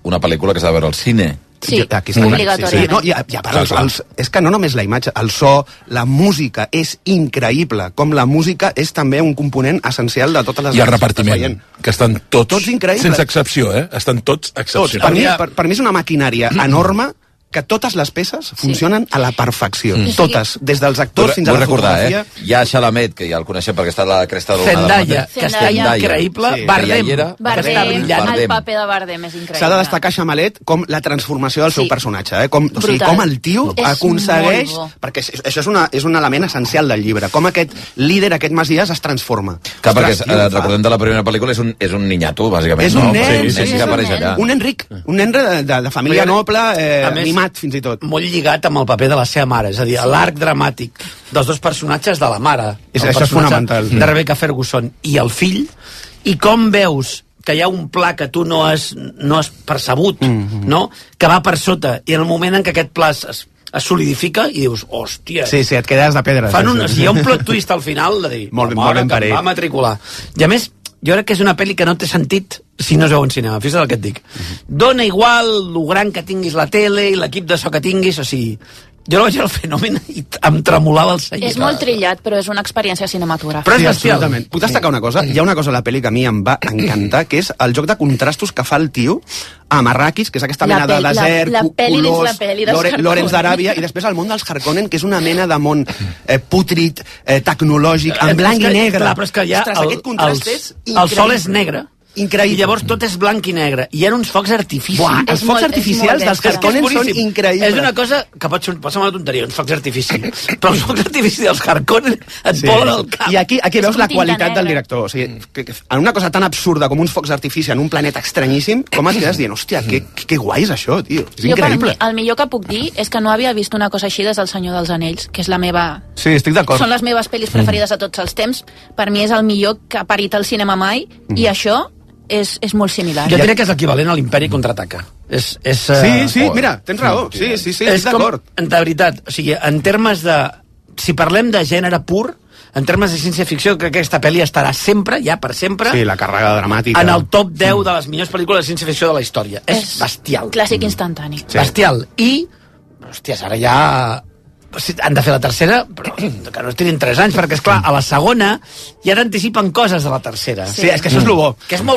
[SPEAKER 3] una pel·lícula que s'ha de veure al cine.
[SPEAKER 13] Sí,
[SPEAKER 5] Jo- aquí està clar. Sí, sí. No, i, a- i a part, els, els, és que no només la imatge, el so, la música és increïble, com la música és també un component essencial de totes les...
[SPEAKER 15] I el
[SPEAKER 5] arts que estàs
[SPEAKER 15] repartiment,
[SPEAKER 5] veient.
[SPEAKER 15] que estan tots,
[SPEAKER 5] Tots increïbles.
[SPEAKER 15] sense excepció, eh? Estan tots
[SPEAKER 5] Tots.
[SPEAKER 15] excepcionals.
[SPEAKER 5] Per, mi, per, per mi és una maquinària
[SPEAKER 3] Mm.
[SPEAKER 5] enorme que totes les peces funcionen a la perfecció.
[SPEAKER 3] Mm.
[SPEAKER 5] Totes, des dels actors fins a
[SPEAKER 3] Vull
[SPEAKER 5] la
[SPEAKER 3] recordar, eh?
[SPEAKER 5] fotografia.
[SPEAKER 3] Hi ha Xalamet, que ja el coneixem perquè està a la cresta d'una...
[SPEAKER 5] Zendaya, que està increïble. Bardem,
[SPEAKER 13] Bardem,
[SPEAKER 5] Està brillant.
[SPEAKER 13] el paper de Bardem és increïble.
[SPEAKER 5] S'ha de destacar Xamalet com la transformació del seu personatge, eh? com, o sigui,
[SPEAKER 13] Brutal.
[SPEAKER 5] com el tio
[SPEAKER 13] És
[SPEAKER 5] aconsegueix...
[SPEAKER 13] molt bo.
[SPEAKER 5] Perquè és- això és, una, és un element essencial del llibre, com aquest líder, aquest Masies, es transforma.
[SPEAKER 3] Clar, perquè
[SPEAKER 5] Ostres,
[SPEAKER 3] eh,
[SPEAKER 5] tio, fa-
[SPEAKER 3] recordem de la primera pel·lícula, és un, és un ninyato, bàsicament.
[SPEAKER 5] És
[SPEAKER 3] no?
[SPEAKER 5] un nen,
[SPEAKER 3] un
[SPEAKER 5] sí,
[SPEAKER 3] que apareix allà.
[SPEAKER 5] un nen ric, un nen de, de, de família
[SPEAKER 14] Però jo-
[SPEAKER 5] noble, eh,
[SPEAKER 14] A més-
[SPEAKER 5] mimat fins i tot.
[SPEAKER 14] Molt lligat amb el paper de la seva mare, és a dir, l'arc dramàtic dels dos personatges de la mare.
[SPEAKER 5] És-
[SPEAKER 14] el
[SPEAKER 5] això és
[SPEAKER 14] personatge
[SPEAKER 5] fonamental.
[SPEAKER 14] De Rebecca Ferguson i el fill, i com veus que hi ha un pla que tu no has, no has percebut,
[SPEAKER 5] Mhm.
[SPEAKER 14] no? que va per sota, i en el moment en què aquest pla es, es solidifica i dius, hòstia...
[SPEAKER 5] Sí, sí, et quedes de pedra.
[SPEAKER 14] Fan
[SPEAKER 5] sí,
[SPEAKER 14] un,
[SPEAKER 5] sí.
[SPEAKER 14] si hi ha un plot twist al final de dir...
[SPEAKER 5] [LAUGHS] Molt ben-
[SPEAKER 14] "La
[SPEAKER 5] molt
[SPEAKER 14] mare
[SPEAKER 5] ben
[SPEAKER 14] que em
[SPEAKER 5] parit."
[SPEAKER 14] Va matricular. I a més, jo crec que és una pel·li que no té sentit si no es veu en cinema, fixa't el que et dic.
[SPEAKER 5] Mhm.
[SPEAKER 14] Dona igual lo gran que tinguis la tele i l'equip de so que tinguis, o sigui... Jo la vaig veure el fenomen i t- em tremolava el seient.
[SPEAKER 13] És molt trillat, però és una experiència cinematogràfica.
[SPEAKER 5] Però és sí, absolutament. Puc destacar una cosa? Hi ha una cosa a la pel·li que a mi em va encantar, que és el joc de contrastos que fa el tio a Marrakis, que és aquesta
[SPEAKER 13] La
[SPEAKER 5] mena de
[SPEAKER 13] pel- la-
[SPEAKER 5] desert,
[SPEAKER 13] la
[SPEAKER 5] cu-
[SPEAKER 13] pel·li dins
[SPEAKER 5] colors,
[SPEAKER 13] la pel·li dels
[SPEAKER 5] Lore-
[SPEAKER 13] Harkonnen.
[SPEAKER 5] Lorenz d'Aràbia, i després el món dels Harkonnen, que és una mena de món eh, pútrid, eh, tecnològic, en blanc
[SPEAKER 14] És que-
[SPEAKER 5] i negre.
[SPEAKER 14] Clar, però és que ja
[SPEAKER 5] Ostres,
[SPEAKER 14] el,
[SPEAKER 5] aquest contrast
[SPEAKER 14] el,
[SPEAKER 5] és
[SPEAKER 14] el sol és
[SPEAKER 5] increïble.
[SPEAKER 14] negre.
[SPEAKER 5] Increïble.
[SPEAKER 14] I llavors tot és blanc i negre. I hi ha uns focs artificis.
[SPEAKER 5] Buah, els És focs molt- és artificials molt dels bèstia. Harkonnen
[SPEAKER 14] És que és
[SPEAKER 5] són
[SPEAKER 14] boníssim.
[SPEAKER 5] increïbles.
[SPEAKER 14] És una cosa que pot, ser- pot semblar una tonteria, uns focs artifici. [LAUGHS] però els focs artificis dels Harkonnen et
[SPEAKER 5] Sí.
[SPEAKER 14] volen al cap.
[SPEAKER 5] I aquí, aquí veus la qualitat del
[SPEAKER 14] director.
[SPEAKER 5] director. O sigui, que, que, en una cosa tan absurda com uns focs d'artifici en un planeta estranyíssim, com et quedes dient, hòstia, que, que, que guai és això, tio. És
[SPEAKER 13] Jo, per mi,
[SPEAKER 5] increïble.
[SPEAKER 13] el millor que puc dir és que no havia vist una cosa així des del Senyor dels Anells, que és la meva...
[SPEAKER 5] Sí, estic d'acord.
[SPEAKER 13] Són les meves
[SPEAKER 5] Mm.
[SPEAKER 13] pel·lis preferides de tots els temps. Per mi és el millor que ha parit el cinema mai,
[SPEAKER 5] Mm.
[SPEAKER 13] i eh, això és, és molt similar.
[SPEAKER 14] Jo crec que és l'equivalent a l'imperi contraataca. És, és, eh,
[SPEAKER 5] Sí, sí, mira, tens raó. Sí, sí, sí,
[SPEAKER 14] és
[SPEAKER 5] estic
[SPEAKER 14] com-
[SPEAKER 5] d'acord.
[SPEAKER 14] De veritat, o sigui, en termes de... Si parlem de gènere pur, en termes de ciència-ficció, crec que aquesta pel·li estarà sempre, ja per sempre,
[SPEAKER 5] Sí, la càrrega dramàtica.
[SPEAKER 14] en el top 10 de les millors pel·lícules de ciència-ficció de la història. És, bestial.
[SPEAKER 13] Clàssic instantani.
[SPEAKER 14] Sí. Bestial. I, hòsties, ara ja si han de fer la tercera, però que no estiguin 3 anys, perquè, és clar a la segona ja n'anticipen coses de la tercera.
[SPEAKER 5] Sí, és que això és lo bo.
[SPEAKER 14] Mm. Que és molt,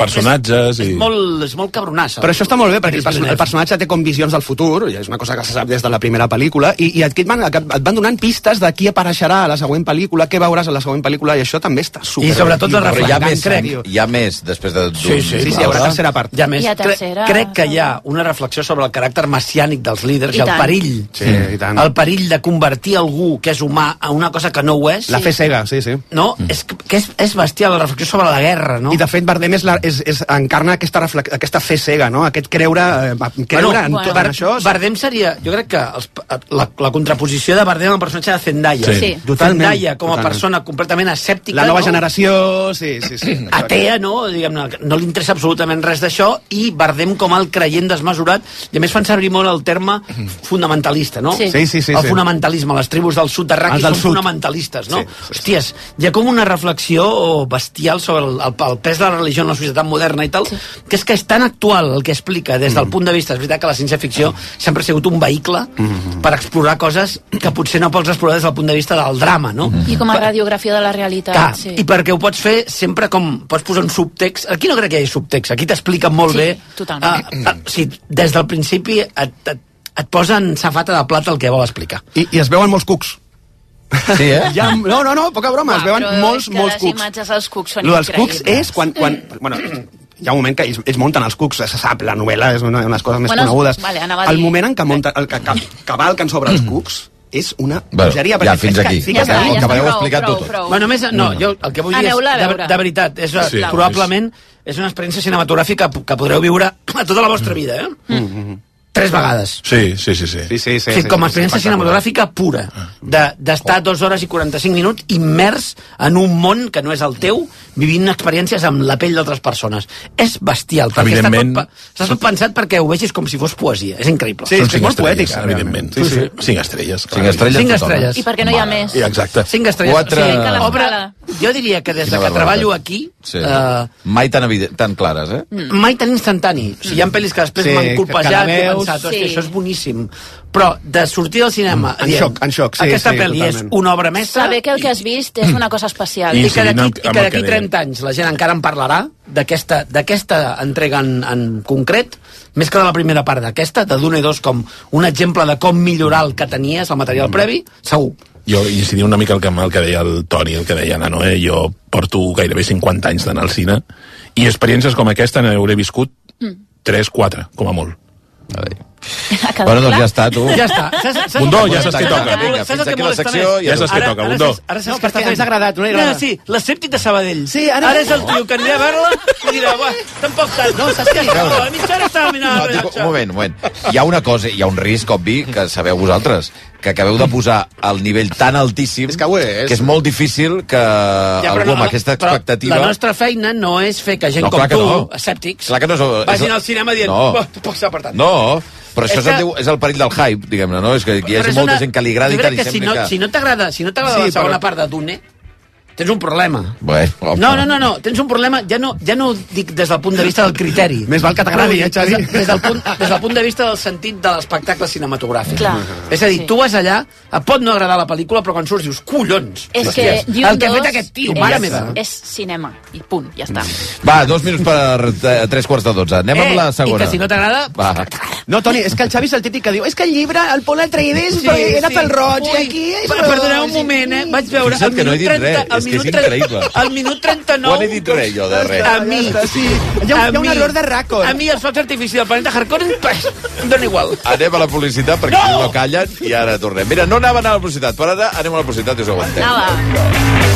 [SPEAKER 14] és,
[SPEAKER 15] Personatges i-
[SPEAKER 14] és molt, és molt cabronassa.
[SPEAKER 5] Però això està molt bé, perquè el, perso el personatge té com visions del futur, i és una cosa que se sap des de la primera pel·lícula, i, i et, et, van, et van donant pistes de qui apareixerà a la següent pel·lícula, què veuràs a la següent pel·lícula, i això també està super...
[SPEAKER 3] Però hi ha
[SPEAKER 5] reflectant,
[SPEAKER 3] més, hi ha més després de...
[SPEAKER 14] Sí, sí, sí, sí, hi haurà tercera part. I a més,
[SPEAKER 13] Hi ha
[SPEAKER 14] cre
[SPEAKER 13] tercera.
[SPEAKER 14] crec que hi ha una reflexió sobre el caràcter messiànic dels líders i,
[SPEAKER 13] I
[SPEAKER 14] el
[SPEAKER 13] tant.
[SPEAKER 14] perill.
[SPEAKER 5] Sí, i tant.
[SPEAKER 14] El perill de convertir algú que és humà a una cosa que no ho és.
[SPEAKER 5] La fe cega, sí, sí.
[SPEAKER 14] No, és, que- que és, és bestial la reflexió sobre la guerra, no?
[SPEAKER 5] Mm. I de fet Bardem és la, és, és, encarna aquesta, reflex, aquesta fe cega, no? aquest creure, eh, creure bueno, en tot bueno. això.
[SPEAKER 14] Bardem seria... Jo crec que els, pa- la, la contraposició de Bardem al personatge de Zendaya.
[SPEAKER 5] Sí. Sí. Totalment,
[SPEAKER 14] Zendaya, com a
[SPEAKER 5] totalment.
[SPEAKER 14] persona completament escèptica...
[SPEAKER 5] La nova
[SPEAKER 14] no?
[SPEAKER 5] generació, sí, sí, [CLEARS THROAT] sí.
[SPEAKER 14] atea, no? Diguem-ne, no li interessa absolutament res d'això i Bardem com el creient desmesurat i a més fan servir molt el terme
[SPEAKER 5] Mm.
[SPEAKER 14] fundamentalista, no?
[SPEAKER 5] Sí. Sí, sí, sí,
[SPEAKER 14] El
[SPEAKER 5] sí.
[SPEAKER 14] fonamentalisme, les tribus del sud d'Arraki
[SPEAKER 5] Els del
[SPEAKER 14] són
[SPEAKER 5] sud.
[SPEAKER 14] fonamentalistes, no? Sí. Hòsties, hi ha com una reflexió bestial sobre el, el, el pes de la religió en la societat moderna i tal, sí. que és que és tan actual el que explica des
[SPEAKER 5] Mm.
[SPEAKER 14] del punt de vista, és veritat que la ciència-ficció sempre ha sigut un vehicle
[SPEAKER 5] mm,
[SPEAKER 14] per explorar coses que potser no pots explorar des del punt de vista del drama,
[SPEAKER 5] Mm,
[SPEAKER 14] no?
[SPEAKER 13] I com a radiografia de la realitat.
[SPEAKER 14] Clar,
[SPEAKER 13] sí.
[SPEAKER 14] i perquè ho pots fer sempre com... Pots posar un subtext... Aquí no crec que hi hagi subtext, aquí t'explica molt
[SPEAKER 13] Sí,
[SPEAKER 14] bé...
[SPEAKER 13] totalment.
[SPEAKER 14] Ah, ah, o sigui, des del principi et, et, et posa en safata de plata el que vol explicar.
[SPEAKER 5] I, i es veuen molts cucs.
[SPEAKER 3] Sí,
[SPEAKER 14] eh?
[SPEAKER 5] Ja, no, no, no, poca broma, es veuen
[SPEAKER 13] però
[SPEAKER 5] molts,
[SPEAKER 13] és que
[SPEAKER 5] molts
[SPEAKER 13] les
[SPEAKER 5] cucs.
[SPEAKER 13] imatges dels cucs són
[SPEAKER 5] Lo dels cucs
[SPEAKER 13] increïbles.
[SPEAKER 5] és quan... quan bueno, hi ha un moment que ells, ells munten els cucs, se sap, la novel·la és una de les coses més
[SPEAKER 13] Bueno,
[SPEAKER 5] conegudes.
[SPEAKER 13] vale, anava a
[SPEAKER 5] el
[SPEAKER 13] dir-
[SPEAKER 5] moment en què, munta, el, que, que, que valquen sobre els cucs és una
[SPEAKER 3] Mm. Bueno,
[SPEAKER 5] bogeria.
[SPEAKER 3] ja, fins aquí. Ja està, ja està, prou, prou, prou.
[SPEAKER 14] Bueno, només, no,
[SPEAKER 3] Mm.
[SPEAKER 14] jo el que vull dir
[SPEAKER 13] Aneu-la a
[SPEAKER 14] és, de,
[SPEAKER 13] veure.
[SPEAKER 14] de veritat, és,
[SPEAKER 13] Sí,
[SPEAKER 14] sí, probablement és una experiència cinematogràfica que podreu viure [CLEARS THROAT] a tota la vostra vida, eh? Tres vegades.
[SPEAKER 15] Sí, sí, sí. sí.
[SPEAKER 5] sí, sí,
[SPEAKER 14] Sí, sí, com a experiència cinematogràfica pura, de- d'estar de, dues hores i 45 minuts immers en un món que no és el teu, vivint experiències amb la pell d'altres persones. És bestial, perquè està tot,
[SPEAKER 15] Evidentment,
[SPEAKER 14] pa- està tot pensat perquè ho vegis com si fos poesia. És increïble.
[SPEAKER 15] Són cinc estrelles, evidentment. Sí, sí. Cinc estrelles. clar.
[SPEAKER 14] Cinc estrelles Cinc total. estrelles.
[SPEAKER 13] I perquè no hi ha més.
[SPEAKER 15] I Exacte.
[SPEAKER 14] Cinc estrelles.
[SPEAKER 3] Quatre-
[SPEAKER 14] O sigui,
[SPEAKER 3] que
[SPEAKER 14] que
[SPEAKER 3] la-
[SPEAKER 14] obra, jo diria que des de
[SPEAKER 3] Quina
[SPEAKER 14] que
[SPEAKER 3] barbaritat.
[SPEAKER 14] treballo aquí
[SPEAKER 3] Sí.
[SPEAKER 14] eh,
[SPEAKER 3] Mai tan, evident, tan clares, eh?
[SPEAKER 14] Mm. mai tan instantani. O sigui,
[SPEAKER 5] Mm.
[SPEAKER 14] hi ha pel·lis que després
[SPEAKER 3] Sí,
[SPEAKER 14] sí, m'han
[SPEAKER 3] que la
[SPEAKER 14] colpejat i he
[SPEAKER 3] veus-
[SPEAKER 14] pensat, "Hòstia,
[SPEAKER 3] Sí.
[SPEAKER 14] això és boníssim. Però de sortir del cinema...
[SPEAKER 5] Mm. En
[SPEAKER 14] dient,
[SPEAKER 5] xoc, en xoc, sí,
[SPEAKER 14] Aquesta
[SPEAKER 5] sí,
[SPEAKER 14] pel·li és
[SPEAKER 5] totalment.
[SPEAKER 14] una obra mestra
[SPEAKER 13] Saber que el que has vist és una cosa especial.
[SPEAKER 14] i que d'aquí i que d'aquí 30 anys la gent encara en parlarà d'aquesta d'aquesta entrega en, en concret, més que de la primera part d'aquesta, de Duna i dos com un exemple de com millorar el que tenies, el material previ, segur.
[SPEAKER 15] Jo incidim una mica el que, el que deia el Toni, el que deia la Noé. Jo porto gairebé 50 anys d'anar al cine i experiències com aquesta n'hauré viscut 3, 4, com a molt.
[SPEAKER 3] Bueno, doncs ja està, tu.
[SPEAKER 14] Ja està. Saps, saps el
[SPEAKER 15] Bundó,
[SPEAKER 14] que
[SPEAKER 15] ja saps què
[SPEAKER 14] molesta?
[SPEAKER 15] toca.
[SPEAKER 3] Vinga, fins
[SPEAKER 14] Saps el que
[SPEAKER 3] aquí la
[SPEAKER 14] molesta
[SPEAKER 3] secció
[SPEAKER 14] més?
[SPEAKER 3] i ja saps què
[SPEAKER 14] Ara-
[SPEAKER 3] toca,
[SPEAKER 14] ara
[SPEAKER 3] Bundó.
[SPEAKER 14] saps- Ara saps
[SPEAKER 5] No, perquè m'ha desagradat, no li
[SPEAKER 14] No,
[SPEAKER 5] agrada.
[SPEAKER 14] sí, l'escèptic de Sabadell.
[SPEAKER 5] Sí, ara-
[SPEAKER 14] Ara és el tio que anirà a veure-la i dirà, "Buah, tampoc tant. No, saps què?
[SPEAKER 3] Veure.
[SPEAKER 14] A mitja hora estava mirant el
[SPEAKER 3] No, dic, un
[SPEAKER 14] rellotge.
[SPEAKER 3] moment, un moment. Hi ha una cosa, hi ha un risc, obvi, que sabeu vosaltres, que acabeu de posar el nivell tan altíssim és que, és. que és molt difícil que ja,
[SPEAKER 14] però
[SPEAKER 3] algú amb
[SPEAKER 14] no,
[SPEAKER 3] aquesta
[SPEAKER 14] però
[SPEAKER 3] expectativa...
[SPEAKER 14] La nostra feina no és fer que gent
[SPEAKER 3] No,
[SPEAKER 14] com
[SPEAKER 3] clar que
[SPEAKER 14] tu,
[SPEAKER 3] no.
[SPEAKER 14] escèptics,
[SPEAKER 3] Clar que no és... és
[SPEAKER 14] vagin
[SPEAKER 3] la-
[SPEAKER 14] al cinema dient
[SPEAKER 3] No.
[SPEAKER 14] no. poc s'ha apartat.
[SPEAKER 3] No, però això
[SPEAKER 14] És
[SPEAKER 3] és, el,
[SPEAKER 14] que-
[SPEAKER 3] teu- és el perill del hype, diguem-ne, no? És que hi
[SPEAKER 14] Però
[SPEAKER 3] hagi
[SPEAKER 14] és
[SPEAKER 3] molta
[SPEAKER 14] una-
[SPEAKER 3] gent que li agrada
[SPEAKER 14] jo
[SPEAKER 3] i que
[SPEAKER 14] crec
[SPEAKER 3] li
[SPEAKER 14] que si
[SPEAKER 3] sembli
[SPEAKER 14] no,
[SPEAKER 3] que...
[SPEAKER 14] si no t'agrada si no t'agrada
[SPEAKER 3] Sí,
[SPEAKER 14] la segona
[SPEAKER 3] però-
[SPEAKER 14] part de Dune, tens un problema.
[SPEAKER 3] Bé, home.
[SPEAKER 14] No, no, no, no, tens un problema, ja no, ja no ho dic des del punt de vista del
[SPEAKER 3] [LAUGHS]
[SPEAKER 14] criteri.
[SPEAKER 5] Més val que t'agradi, eh, Xavi?
[SPEAKER 14] Des, de- des, del punt, des del punt de vista del sentit de l'espectacle cinematogràfic.
[SPEAKER 13] Clar.
[SPEAKER 14] És a dir, tu vas allà, et pot no agradar la pel·lícula, però quan surts dius, collons!
[SPEAKER 5] Eh,
[SPEAKER 13] És que
[SPEAKER 14] hòsties,
[SPEAKER 13] Dune
[SPEAKER 14] el que ha
[SPEAKER 13] 2
[SPEAKER 14] fet aquest tio, mare
[SPEAKER 13] és,
[SPEAKER 14] meva!
[SPEAKER 13] És cinema, i punt, ja està.
[SPEAKER 3] Va, dos minuts per eh, tres quarts de dotze. Anem amb
[SPEAKER 5] Eh,
[SPEAKER 3] la
[SPEAKER 5] i que
[SPEAKER 3] segona.
[SPEAKER 5] si no
[SPEAKER 14] t'agrada...
[SPEAKER 3] Va.
[SPEAKER 5] No, Toni, és que el Xavi és el típic que diu és que el llibre, el Pol Atreides,
[SPEAKER 14] Sí,
[SPEAKER 5] sí, era
[SPEAKER 14] sí.
[SPEAKER 5] pel roig,
[SPEAKER 14] Ui,
[SPEAKER 5] i aquí... És
[SPEAKER 14] per-
[SPEAKER 5] roig,
[SPEAKER 14] perdoneu un
[SPEAKER 5] i-
[SPEAKER 14] moment, eh? Vaig veure...
[SPEAKER 3] Fixa't
[SPEAKER 14] al
[SPEAKER 3] que no he dit
[SPEAKER 14] minut
[SPEAKER 3] res,
[SPEAKER 14] 30 al
[SPEAKER 3] és que és
[SPEAKER 14] minut 30
[SPEAKER 3] increïble.
[SPEAKER 14] Al minut 39...
[SPEAKER 3] No he dit res, jo, de res.
[SPEAKER 14] A mi...
[SPEAKER 3] Ja està, sí.
[SPEAKER 5] Hi ha un- hi ha un error de ràcord.
[SPEAKER 14] A mi els focs artificials del planeta Harkonnen... pff, em Dóna igual.
[SPEAKER 3] Anem a la publicitat perquè no! no callen i ara tornem. Mira, no anaven a la publicitat, però ara anem a la publicitat i us ho aguantem.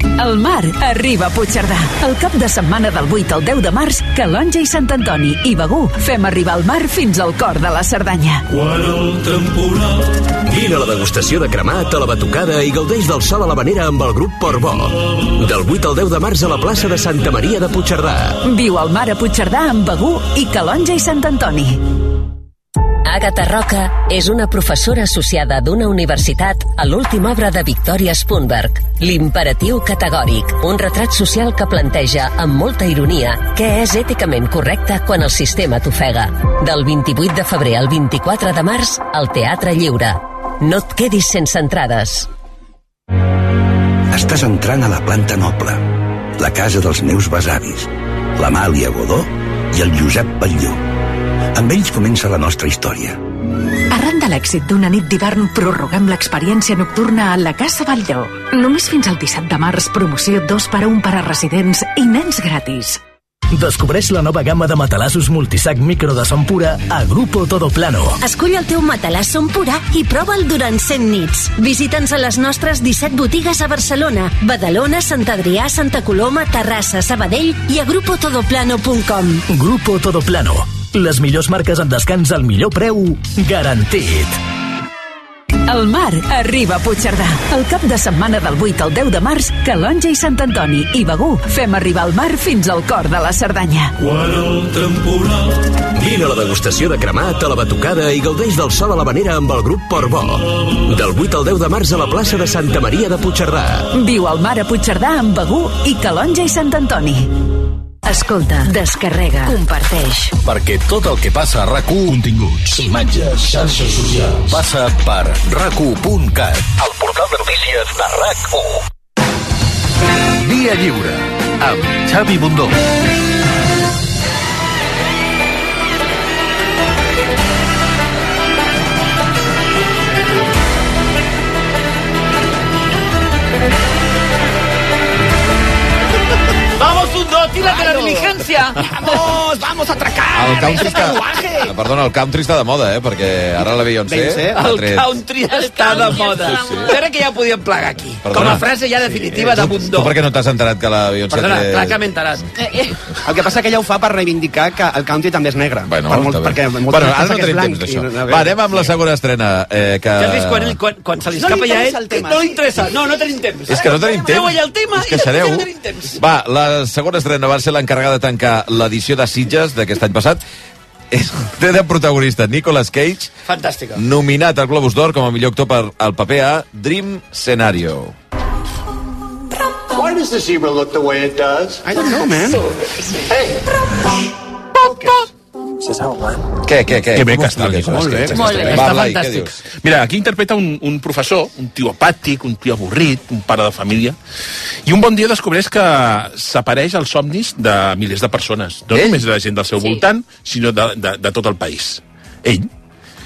[SPEAKER 6] El mar arriba a Puigcerdà. El cap de setmana del 8 al 10 de març, Calonja i Sant Antoni i Begú fem arribar el mar fins al cor de la Cerdanya.
[SPEAKER 22] Quan el temporal...
[SPEAKER 23] Vine a la degustació de cremat a la Batucada i gaudeix del sol a l'havanera amb el grup Port Bo. Del 8 al 10 de març a la plaça de Santa Maria de Puigcerdà.
[SPEAKER 6] Viu el mar a Puigcerdà amb Begú i Calonja i Sant Antoni.
[SPEAKER 24] Àgata Roca és una professora associada d'una universitat a l'última obra de Victoria Spunberg, L'imperatiu categòric, un retrat social que planteja amb molta ironia què és èticament correcte quan el sistema t'ofega. Del 28 de febrer al 24 de març, al Teatre Lliure. No et quedis sense entrades.
[SPEAKER 25] Estàs entrant a la planta noble, la casa dels meus besavis, l'Amàlia Godó i el Josep Batlló. Amb ells comença la nostra història.
[SPEAKER 26] Arran de l'èxit d'una nit d'hivern, prorroguem l'experiència nocturna a la Casa Batlló. Només fins al 17 de març, promoció 2 per 1 per a residents i nens gratis.
[SPEAKER 21] Descobreix la nova gamma de matalassos multisac micro de son pura a Grupo Todo Plano.
[SPEAKER 27] Escull el teu matalàs Som Pura i prova'l durant 100 nits. Visita'ns a les nostres 17 botigues a Barcelona, Badalona, Sant Adrià, Santa Coloma, Terrassa, Sabadell i a grupotodoplano.com.
[SPEAKER 21] Grupo Todo Plano. Les millors marques en descans al millor preu garantit.
[SPEAKER 6] El mar arriba a Puigcerdà. El cap de setmana del 8 al 10 de març, Calonja i Sant Antoni i Begú fem arribar el mar fins al cor de la Cerdanya.
[SPEAKER 28] Quan el temporal
[SPEAKER 23] Vine a la degustació de cremat a la Batucada i gaudeix del sol a l'havanera amb el grup Portbó. Del 8 al 10 de març a la plaça de Santa Maria de Puigcerdà.
[SPEAKER 6] Viu el mar a Puigcerdà amb Begú i Calonja i Sant Antoni.
[SPEAKER 24] Escolta, descarrega, comparteix.
[SPEAKER 8] Perquè Eh, tot el que passa a rac Continguts, imatges, xarxes socials... Passa per rac1.cat. El portal de notícies de RAC1.
[SPEAKER 29] Via Lliure, amb Xavi Bundó.
[SPEAKER 14] ¡Vamos, un dos! ¡Tírate la
[SPEAKER 5] Claro.
[SPEAKER 14] diligencia!
[SPEAKER 3] [LAUGHS]
[SPEAKER 14] ¡Vamos, vamos a atracar!
[SPEAKER 3] El country està... Ah, Perdona, el country està de moda, eh? Perquè ara la Beyoncé...
[SPEAKER 14] Beyoncé,
[SPEAKER 3] ha
[SPEAKER 14] el
[SPEAKER 3] tret-
[SPEAKER 14] country està de moda. Ara que ja ho podíem plegar aquí. Com
[SPEAKER 3] Perdona.
[SPEAKER 14] a frase ja definitiva de
[SPEAKER 3] Tu
[SPEAKER 14] Bundó.
[SPEAKER 3] per què no t'has enterat que la Beyoncé...
[SPEAKER 14] Perdona,
[SPEAKER 3] té-
[SPEAKER 14] clar que m'he enterat.
[SPEAKER 5] Eh, El que passa que ella ho fa per reivindicar que el country també és negre.
[SPEAKER 3] Bueno,
[SPEAKER 5] per molt,
[SPEAKER 3] està bé.
[SPEAKER 5] perquè molta
[SPEAKER 3] bueno
[SPEAKER 5] gent pensa
[SPEAKER 3] ara no
[SPEAKER 5] que és
[SPEAKER 3] tenim temps
[SPEAKER 5] blanc
[SPEAKER 3] d'això.
[SPEAKER 5] i no-
[SPEAKER 3] Va, anem amb la segona estrena. Eh, que...
[SPEAKER 14] Ja has vist quan, ell, quan, quan se li
[SPEAKER 5] No
[SPEAKER 14] escapa
[SPEAKER 5] li
[SPEAKER 14] ja a
[SPEAKER 5] interessa
[SPEAKER 14] ell...
[SPEAKER 5] el tema.
[SPEAKER 14] No li interessa. No, no tenim temps.
[SPEAKER 3] És que no tenim temps.
[SPEAKER 14] Feu allà el tema
[SPEAKER 3] Us
[SPEAKER 14] i després
[SPEAKER 3] queixareu.
[SPEAKER 14] ja no tenim temps.
[SPEAKER 3] Va, la segona estrena va ser l'encarregada de tancar l'edició de Sitges d'aquest any passat. És- Té de protagonista Nicolas Cage,
[SPEAKER 14] Fantàstica.
[SPEAKER 3] nominat al Globus d'Or com a millor actor per al paper a Dream Scenario.
[SPEAKER 29] Why does the zebra look the way it does? I don't know, man. Hey. This is how it went.
[SPEAKER 3] Què, què, què?
[SPEAKER 15] Que bé
[SPEAKER 3] Com
[SPEAKER 15] que està el
[SPEAKER 3] expliques?
[SPEAKER 15] Nicolas
[SPEAKER 3] Molt bé,
[SPEAKER 15] Cage.
[SPEAKER 3] molt bé.
[SPEAKER 15] Va,
[SPEAKER 3] Està
[SPEAKER 15] Blai, què
[SPEAKER 3] fantàstic.
[SPEAKER 15] dius? Mira, aquí interpreta un, un professor, un tio apàtic, un tio avorrit, un pare de família, i un bon dia descobreix que s'apareix als somnis de milers de persones. No
[SPEAKER 3] Eh?
[SPEAKER 15] només de la gent del seu voltant, sinó de, de, de tot el país. Ell.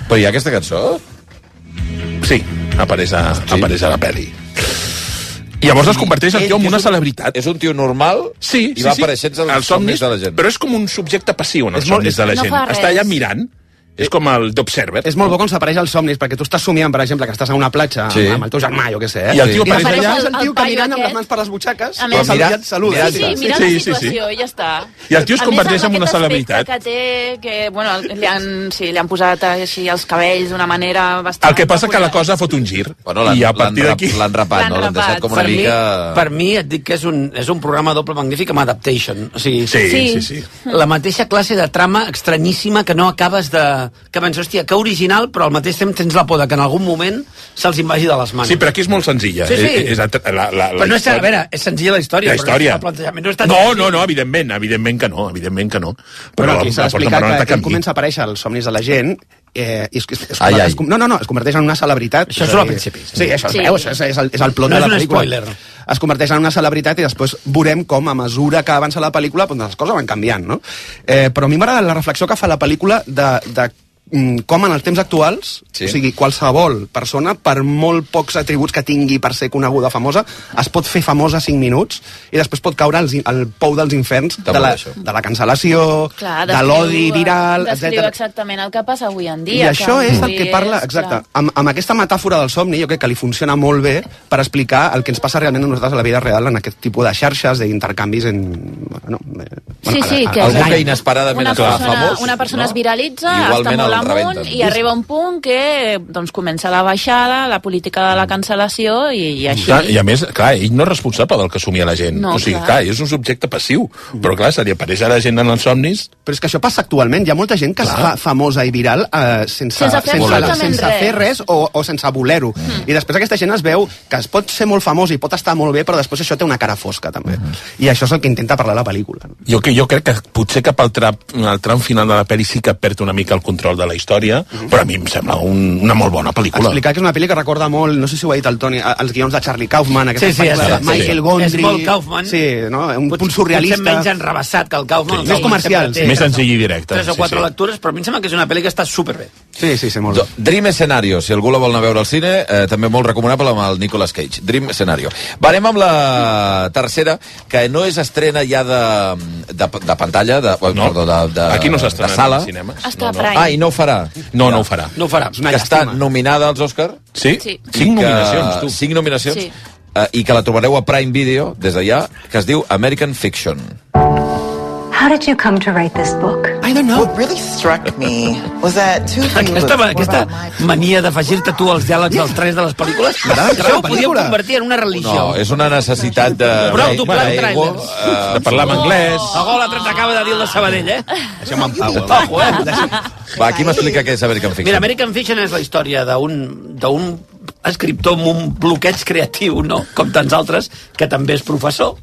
[SPEAKER 3] Però hi ha aquesta cançó?
[SPEAKER 15] Sí, apareix a, apareix a la pel·li. I llavors es converteix el tio en una celebritat.
[SPEAKER 3] És un tio normal
[SPEAKER 15] sí,
[SPEAKER 3] i va apareixent als somnis de la gent.
[SPEAKER 15] Però és com un subjecte passiu en els
[SPEAKER 5] És molt-
[SPEAKER 15] somnis de la
[SPEAKER 5] no
[SPEAKER 15] gent.
[SPEAKER 5] fa res.
[SPEAKER 15] Està allà mirant. És com el d'Observer.
[SPEAKER 5] És molt bo quan s'apareix als somnis, perquè tu estàs somiant, per exemple, que estàs a una platja amb-
[SPEAKER 15] Sí.
[SPEAKER 5] amb el teu germà, jo què sé. Eh?
[SPEAKER 15] I el tio apareix allà-
[SPEAKER 5] és el tio caminant amb les mans per les butxaques.
[SPEAKER 13] A més,
[SPEAKER 5] però aviat saluda.
[SPEAKER 13] Sí, sí, mira la situació, i ja està.
[SPEAKER 15] I el tio es
[SPEAKER 13] A
[SPEAKER 15] converteix
[SPEAKER 13] més, amb
[SPEAKER 15] en una
[SPEAKER 13] aquest
[SPEAKER 15] celebritat.
[SPEAKER 13] aspecte Que té, que, bueno, li han, sí, li han posat així els cabells d'una manera bastant...
[SPEAKER 15] El que passa que la cosa fot un gir.
[SPEAKER 3] Bueno,
[SPEAKER 14] l'han-
[SPEAKER 15] I a partir
[SPEAKER 14] l'han
[SPEAKER 15] d'aquí...
[SPEAKER 14] rap-
[SPEAKER 3] l'han
[SPEAKER 14] rapat, no? L'han deixat
[SPEAKER 3] com una
[SPEAKER 14] per
[SPEAKER 3] mica-
[SPEAKER 14] Mi, per mi et dic que és un, és un programa doble magnífic amb adaptation. O sigui,
[SPEAKER 15] Sí, sí, sí.
[SPEAKER 14] [LAUGHS] La mateixa classe de trama estranyíssima que no acabes de... Que penses, hòstia, que original, però al mateix temps tens la por de que en algun moment se'ls invagi de les mans.
[SPEAKER 15] Sí, però aquí és molt senzilla. eh?
[SPEAKER 14] Sí, sí.
[SPEAKER 15] És, és la, la, la,
[SPEAKER 14] Però no és, a
[SPEAKER 15] història-
[SPEAKER 14] veure, és senzilla la història.
[SPEAKER 15] la història.
[SPEAKER 14] Però no, està plantejament, no, està
[SPEAKER 15] no, no, no, evidentment, evidentment que no, evidentment que no.
[SPEAKER 5] Però aquí
[SPEAKER 15] la-
[SPEAKER 5] s'ha
[SPEAKER 15] la porta
[SPEAKER 5] d'explicar que
[SPEAKER 15] marrona t'ha
[SPEAKER 5] quan
[SPEAKER 15] canviat.
[SPEAKER 5] comença a aparèixer els somnis de la gent, eh, i es, es, es,
[SPEAKER 15] Ai,
[SPEAKER 5] es,
[SPEAKER 15] ai.
[SPEAKER 5] es, no, no, no, es converteix en una celebritat.
[SPEAKER 14] Això
[SPEAKER 5] És
[SPEAKER 14] surt
[SPEAKER 5] a
[SPEAKER 14] al
[SPEAKER 5] dir,
[SPEAKER 14] principi.
[SPEAKER 5] Sí, això
[SPEAKER 14] Sí.
[SPEAKER 5] sí. Veus, és, és, el, és el plot
[SPEAKER 14] No
[SPEAKER 5] de
[SPEAKER 14] és
[SPEAKER 5] la
[SPEAKER 14] un
[SPEAKER 5] pel·lícula.
[SPEAKER 14] spoiler.
[SPEAKER 5] Es converteix en una celebritat i després veurem com, a mesura que avança la pel·lícula, doncs les coses van canviant, no? Eh, però a mi m'agrada la reflexió que fa la pel·lícula de, de mm, com en els temps actuals, sí.
[SPEAKER 3] Sí.
[SPEAKER 5] o sigui, qualsevol persona, per molt pocs atributs que tingui per ser coneguda o famosa, es pot fer famosa 5 minuts i després pot caure als in- al pou dels inferns de
[SPEAKER 3] molt
[SPEAKER 5] la,
[SPEAKER 3] això.
[SPEAKER 5] de la cancel·lació,
[SPEAKER 13] Clar,
[SPEAKER 5] de
[SPEAKER 13] descriu- eh,
[SPEAKER 5] l'odi viral,
[SPEAKER 13] Descriu
[SPEAKER 5] etc.
[SPEAKER 13] exactament el que passa avui en
[SPEAKER 5] I
[SPEAKER 13] dia.
[SPEAKER 5] això és el
[SPEAKER 13] avui
[SPEAKER 5] que parla,
[SPEAKER 13] és,
[SPEAKER 5] exacte,
[SPEAKER 13] clar.
[SPEAKER 5] amb, amb aquesta metàfora del somni, jo crec que li funciona molt bé per explicar el que ens passa realment a nosaltres a la vida real en aquest tipus de xarxes, d'intercanvis en... Bueno, no, eh,
[SPEAKER 13] Sí, sí,
[SPEAKER 5] a-
[SPEAKER 13] que
[SPEAKER 5] a-
[SPEAKER 13] és
[SPEAKER 5] algú
[SPEAKER 13] una-
[SPEAKER 5] inesperadament
[SPEAKER 13] una
[SPEAKER 5] es fa
[SPEAKER 13] persona,
[SPEAKER 5] famós,
[SPEAKER 13] una persona
[SPEAKER 5] no?
[SPEAKER 13] es viralitza,
[SPEAKER 5] I
[SPEAKER 13] està
[SPEAKER 5] igualment
[SPEAKER 13] molt
[SPEAKER 5] el-
[SPEAKER 13] va
[SPEAKER 3] el
[SPEAKER 13] amunt
[SPEAKER 3] rebenten.
[SPEAKER 13] i arriba un punt que doncs, comença la baixada, la política de la cancel·lació i, i així.
[SPEAKER 15] Clar, I a més, clar, ell no és responsable del que somia la gent.
[SPEAKER 13] No,
[SPEAKER 15] o sigui,
[SPEAKER 13] clar.
[SPEAKER 15] clar. és un subjecte passiu. Però clar, se li apareix a la gent en els somnis...
[SPEAKER 5] Però és que això passa actualment. Hi ha molta gent que es fa famosa i viral eh, sense,
[SPEAKER 15] Sense fer
[SPEAKER 5] sense,
[SPEAKER 15] absolutament
[SPEAKER 5] sense
[SPEAKER 15] res.
[SPEAKER 5] fer res o, o sense voler-ho.
[SPEAKER 13] Mm.
[SPEAKER 5] I després aquesta gent es veu que es pot ser molt famós i pot estar molt bé, però després això té una cara fosca, també. I això és el que intenta parlar la pel·lícula.
[SPEAKER 15] Jo, que- jo crec que potser cap al tram, al tram final de la pel·li sí que perd una mica el control de la història,
[SPEAKER 3] Mhm.
[SPEAKER 15] però a mi em sembla un, una molt bona pel·lícula.
[SPEAKER 5] Explicar que és una pel·li que recorda molt, no sé si ho ha dit el Toni, a- els guions de Charlie Kaufman, aquesta
[SPEAKER 15] Sí, sí,
[SPEAKER 5] pel·lícula
[SPEAKER 15] és
[SPEAKER 5] de
[SPEAKER 15] cert, sí.
[SPEAKER 5] Michael Gondry...
[SPEAKER 14] És molt Kaufman.
[SPEAKER 5] Sí, no? Un punt surrealista.
[SPEAKER 14] Potser menys enrebaçat que el Kaufman.
[SPEAKER 5] Sí, més comercial, sí. Més senzill
[SPEAKER 15] i directe,
[SPEAKER 14] Tres o
[SPEAKER 15] sí,
[SPEAKER 14] quatre
[SPEAKER 15] sí.
[SPEAKER 14] lectures, però a mi em sembla que és una pel·li que està superbé.
[SPEAKER 5] Sí, sí, sí, molt
[SPEAKER 3] bé. Dream Scenario, si algú la vol anar a veure al cine, eh, també molt recomanable amb el Nicolas Cage. Dream Scenario. Va, anem amb la tercera, que no és estrena ja de, de, de pantalla, de, no. perdó, de, de,
[SPEAKER 15] Aquí no s'estrena
[SPEAKER 3] de sala.
[SPEAKER 15] en cinemes.
[SPEAKER 13] Està no, no.
[SPEAKER 3] Ah, i no ho farà.
[SPEAKER 15] No, no ho farà.
[SPEAKER 14] No ho farà.
[SPEAKER 3] Que està nominada als Òscar.
[SPEAKER 15] Sí?
[SPEAKER 13] Sí.
[SPEAKER 3] I
[SPEAKER 15] Cinc
[SPEAKER 3] que-
[SPEAKER 15] nominacions, tu.
[SPEAKER 3] eh, Cinc nominacions.
[SPEAKER 13] Sí.
[SPEAKER 3] Eh, I que la trobareu a Prime Video, des d'allà, que es diu American Fiction.
[SPEAKER 2] How did you come to write this book? I don't know. What really struck me was that two things.
[SPEAKER 14] Aquesta, aquesta mania d'afegir-te tu als diàlegs dels tres de les pel·lícules,
[SPEAKER 3] M'agrada
[SPEAKER 14] això ho
[SPEAKER 3] la
[SPEAKER 14] podíem
[SPEAKER 3] pel·lícula.
[SPEAKER 14] convertir en una religió.
[SPEAKER 3] No, és una necessitat de...
[SPEAKER 14] Prou doblar
[SPEAKER 3] de-
[SPEAKER 14] trailers. Oh,
[SPEAKER 3] eh,
[SPEAKER 15] De parlar en anglès.
[SPEAKER 14] A gol l'altre t'acaba de dir el de Sabadell, eh?
[SPEAKER 5] Deixa'm en pau.
[SPEAKER 14] Ojo, eh?
[SPEAKER 3] Va, qui m'explica què és American Fiction?
[SPEAKER 14] Mira, American Fiction és la història d'un d'un escriptor amb un bloqueig creatiu, no? com tants altres, que també és professor.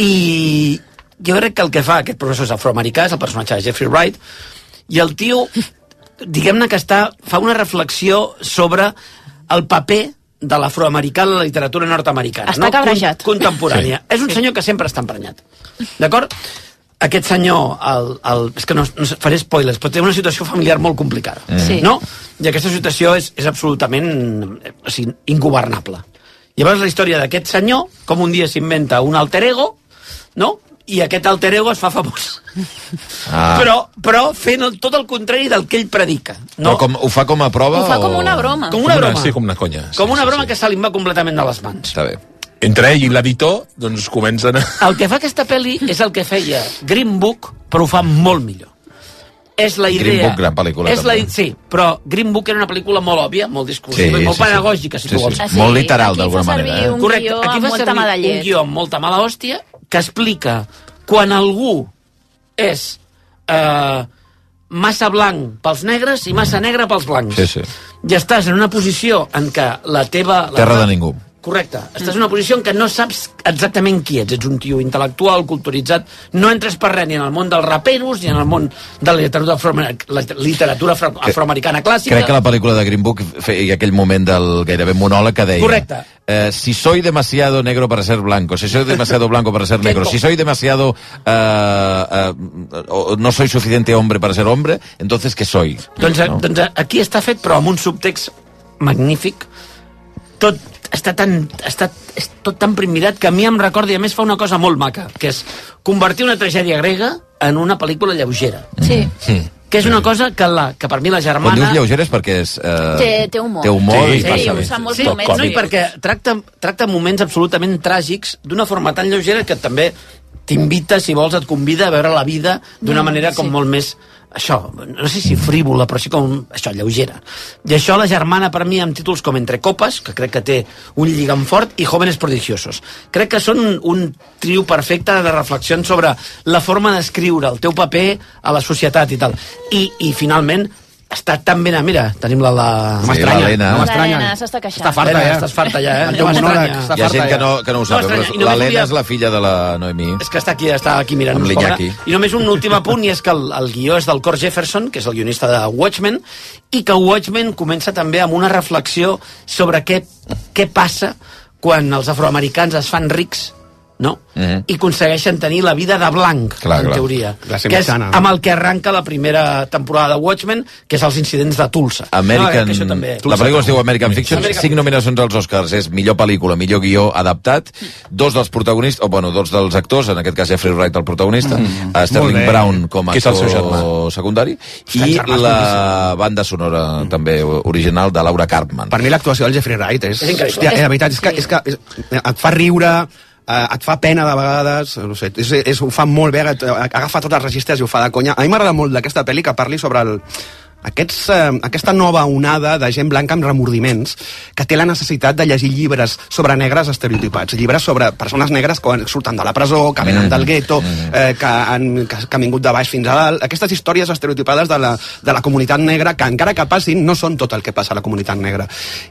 [SPEAKER 14] I jo crec que el que fa aquest professor és afroamericà, és el personatge de Jeffrey Wright, i el tio, diguem-ne que està, fa una reflexió sobre el paper de l'afroamericà en la literatura nord-americana.
[SPEAKER 13] Està cabrejat.
[SPEAKER 14] Con- Contemporània. Sí. És un senyor que sempre està emprenyat. D'acord? Aquest senyor, el, el, és que no, no faré spoilers, però té una situació familiar molt complicada.
[SPEAKER 13] Mm. Sí.
[SPEAKER 14] No? I aquesta situació és, és absolutament eh, o sigui, ingovernable. Llavors la història d'aquest senyor, com un dia s'inventa un alter ego, no? i aquest alter ego es fa famós. Ah. Però, però fent el, tot el contrari del que ell predica.
[SPEAKER 3] No. Però com, ho fa com a prova?
[SPEAKER 14] Ho fa com
[SPEAKER 3] o...
[SPEAKER 14] una broma. Com una broma.
[SPEAKER 15] Sí, com una conya.
[SPEAKER 14] Com una broma que se li va completament de les mans.
[SPEAKER 3] Està bé.
[SPEAKER 15] Entre ell i l'editor, doncs comencen a...
[SPEAKER 14] El que fa aquesta pel·li és el que feia Green Book, però ho fa molt millor. És la idea...
[SPEAKER 3] Green Book, gran pel·lícula,
[SPEAKER 14] És la,
[SPEAKER 3] també.
[SPEAKER 14] sí, però Green Book era una pel·lícula molt òbvia, molt discursiva, sí,
[SPEAKER 3] Sí,
[SPEAKER 14] molt
[SPEAKER 3] sí, sí.
[SPEAKER 14] pedagògica, si
[SPEAKER 3] Sí,
[SPEAKER 14] tu vols.
[SPEAKER 3] sí. Ah, sí? Molt literal, Aquí fa d'alguna servir manera, eh? un
[SPEAKER 14] Correcte,
[SPEAKER 13] guió
[SPEAKER 14] aquí
[SPEAKER 13] amb
[SPEAKER 14] fa
[SPEAKER 13] molta
[SPEAKER 14] servir
[SPEAKER 13] mala llet.
[SPEAKER 14] un guió amb molta mala hòstia que explica quan algú és eh, massa blanc pels negres i massa negre pels blancs.
[SPEAKER 3] Sí, sí.
[SPEAKER 14] I estàs en una posició en què la teva... La
[SPEAKER 3] Terra
[SPEAKER 14] teva-
[SPEAKER 3] de ningú.
[SPEAKER 14] Correcte.
[SPEAKER 13] Mm.
[SPEAKER 14] Estàs en una posició en què no saps exactament qui ets. Ets un tio intel·lectual, culturitzat. No entres per res ni en el món dels raperos ni en el món de la literatura, afroameric- la literatura afro afroamericana clàssica.
[SPEAKER 3] Crec que la pel·lícula de Green Book feia aquell moment del gairebé monòleg que deia...
[SPEAKER 14] Correcte.
[SPEAKER 3] Eh, si soy demasiado negro para ser blanco, si soy demasiado blanco para ser negro, si soy demasiado... Eh, eh, o no soy suficiente hombre para ser hombre, entonces ¿qué soy?
[SPEAKER 14] Doncs, no. doncs aquí està fet, però amb un subtext magnífic. Tot està tan, està, és tot tan primidat que a mi em recorda, i a més fa una cosa molt maca, que és convertir una tragèdia grega en una pel·lícula lleugera.
[SPEAKER 13] Sí.
[SPEAKER 15] Mm.
[SPEAKER 14] Que és una cosa que, la, que per mi la
[SPEAKER 3] Quan dius
[SPEAKER 14] germana...
[SPEAKER 3] lleugeres perquè és... Eh,
[SPEAKER 13] Té- té humor.
[SPEAKER 3] Té humor
[SPEAKER 13] Sí,
[SPEAKER 3] i
[SPEAKER 13] sí,
[SPEAKER 3] passa bé.
[SPEAKER 13] usa molts
[SPEAKER 14] sí,
[SPEAKER 13] moments
[SPEAKER 14] no, i perquè tracta, tracta moments absolutament tràgics d'una forma tan lleugera que també t'invita, si vols, et convida a veure la vida d'una
[SPEAKER 2] Mm,
[SPEAKER 14] manera com
[SPEAKER 2] sí.
[SPEAKER 14] molt més això, no sé si frívola, però sí com això, lleugera. I això la germana per mi amb títols com Entre Copes, que crec que té un lligam fort, i Jóvenes Prodigiosos. Crec que són un, un trio perfecte de reflexions sobre la forma d'escriure, el teu paper a la societat i tal. I, i finalment, està tan ben... a- Mira, tenim la... la...
[SPEAKER 3] Sí, m'estranya, l'Helena. no m'estranya.
[SPEAKER 13] L'Helena s'està queixant.
[SPEAKER 14] Està farta, ja. Estàs farta, ja, eh?
[SPEAKER 5] El teu
[SPEAKER 14] No m'estranya.
[SPEAKER 5] monòleg,
[SPEAKER 3] Hi ha gent que no, que no ho sap.
[SPEAKER 14] m'estranya,
[SPEAKER 3] però
[SPEAKER 14] i només
[SPEAKER 3] L'Helena
[SPEAKER 14] volia-
[SPEAKER 3] és la filla de la Noemí.
[SPEAKER 14] És que està aquí, està aquí mirant.
[SPEAKER 3] Amb
[SPEAKER 14] pobra.
[SPEAKER 3] l'Iñaki.
[SPEAKER 14] I només un últim apunt, i és que el, el guió és del Cor Jefferson, que és el guionista de Watchmen, i que Watchmen comença també amb una reflexió sobre què, què passa quan els afroamericans es fan rics no?
[SPEAKER 5] Mhm.
[SPEAKER 14] i aconsegueixen tenir la vida de blanc,
[SPEAKER 5] Clar,
[SPEAKER 14] en
[SPEAKER 5] clar.
[SPEAKER 14] teoria.
[SPEAKER 5] Classe
[SPEAKER 14] que és
[SPEAKER 5] mitjana.
[SPEAKER 14] amb el que arranca la primera temporada de Watchmen, que Ah, és els incidents de Tulsa.
[SPEAKER 3] American...
[SPEAKER 14] No, que això
[SPEAKER 3] No,
[SPEAKER 14] també... eh?
[SPEAKER 3] la pel·lícula es diu American Fiction,
[SPEAKER 14] American
[SPEAKER 3] cinc nominacions als Oscars, és millor pel·lícula, millor guió adaptat, dos dels protagonistes, o bueno, dos dels actors, en aquest cas Jeffrey Wright el protagonista,
[SPEAKER 15] Mm.
[SPEAKER 3] mm. Sterling
[SPEAKER 15] Molt bé.
[SPEAKER 3] Brown com a
[SPEAKER 15] Que és el seu
[SPEAKER 3] actor secundari, i
[SPEAKER 5] germà és
[SPEAKER 3] la banda sonora també original de Laura Cartman.
[SPEAKER 5] Per mi l'actuació del Jeffrey Wright és...
[SPEAKER 3] És increïble.
[SPEAKER 5] hòstia, eh, la veritat és que, és que és, et fa riure, eh, et fa pena de vegades, no sé, és, eh, és, ho fa molt bé, et- agafa tots els registres i ho fa de conya. A mi m'agrada molt d'aquesta pel·li que parli sobre el, Aquests, eh, aquesta nova onada de gent blanca amb remordiments que té la necessitat de llegir llibres sobre negres estereotipats, llibres sobre persones negres que surten de la presó, que venen del gueto, eh, que, han, que, que han vingut de baix fins a dalt, aquestes històries estereotipades de la, de la comunitat negra que encara que passin no són tot el que passa a la comunitat negra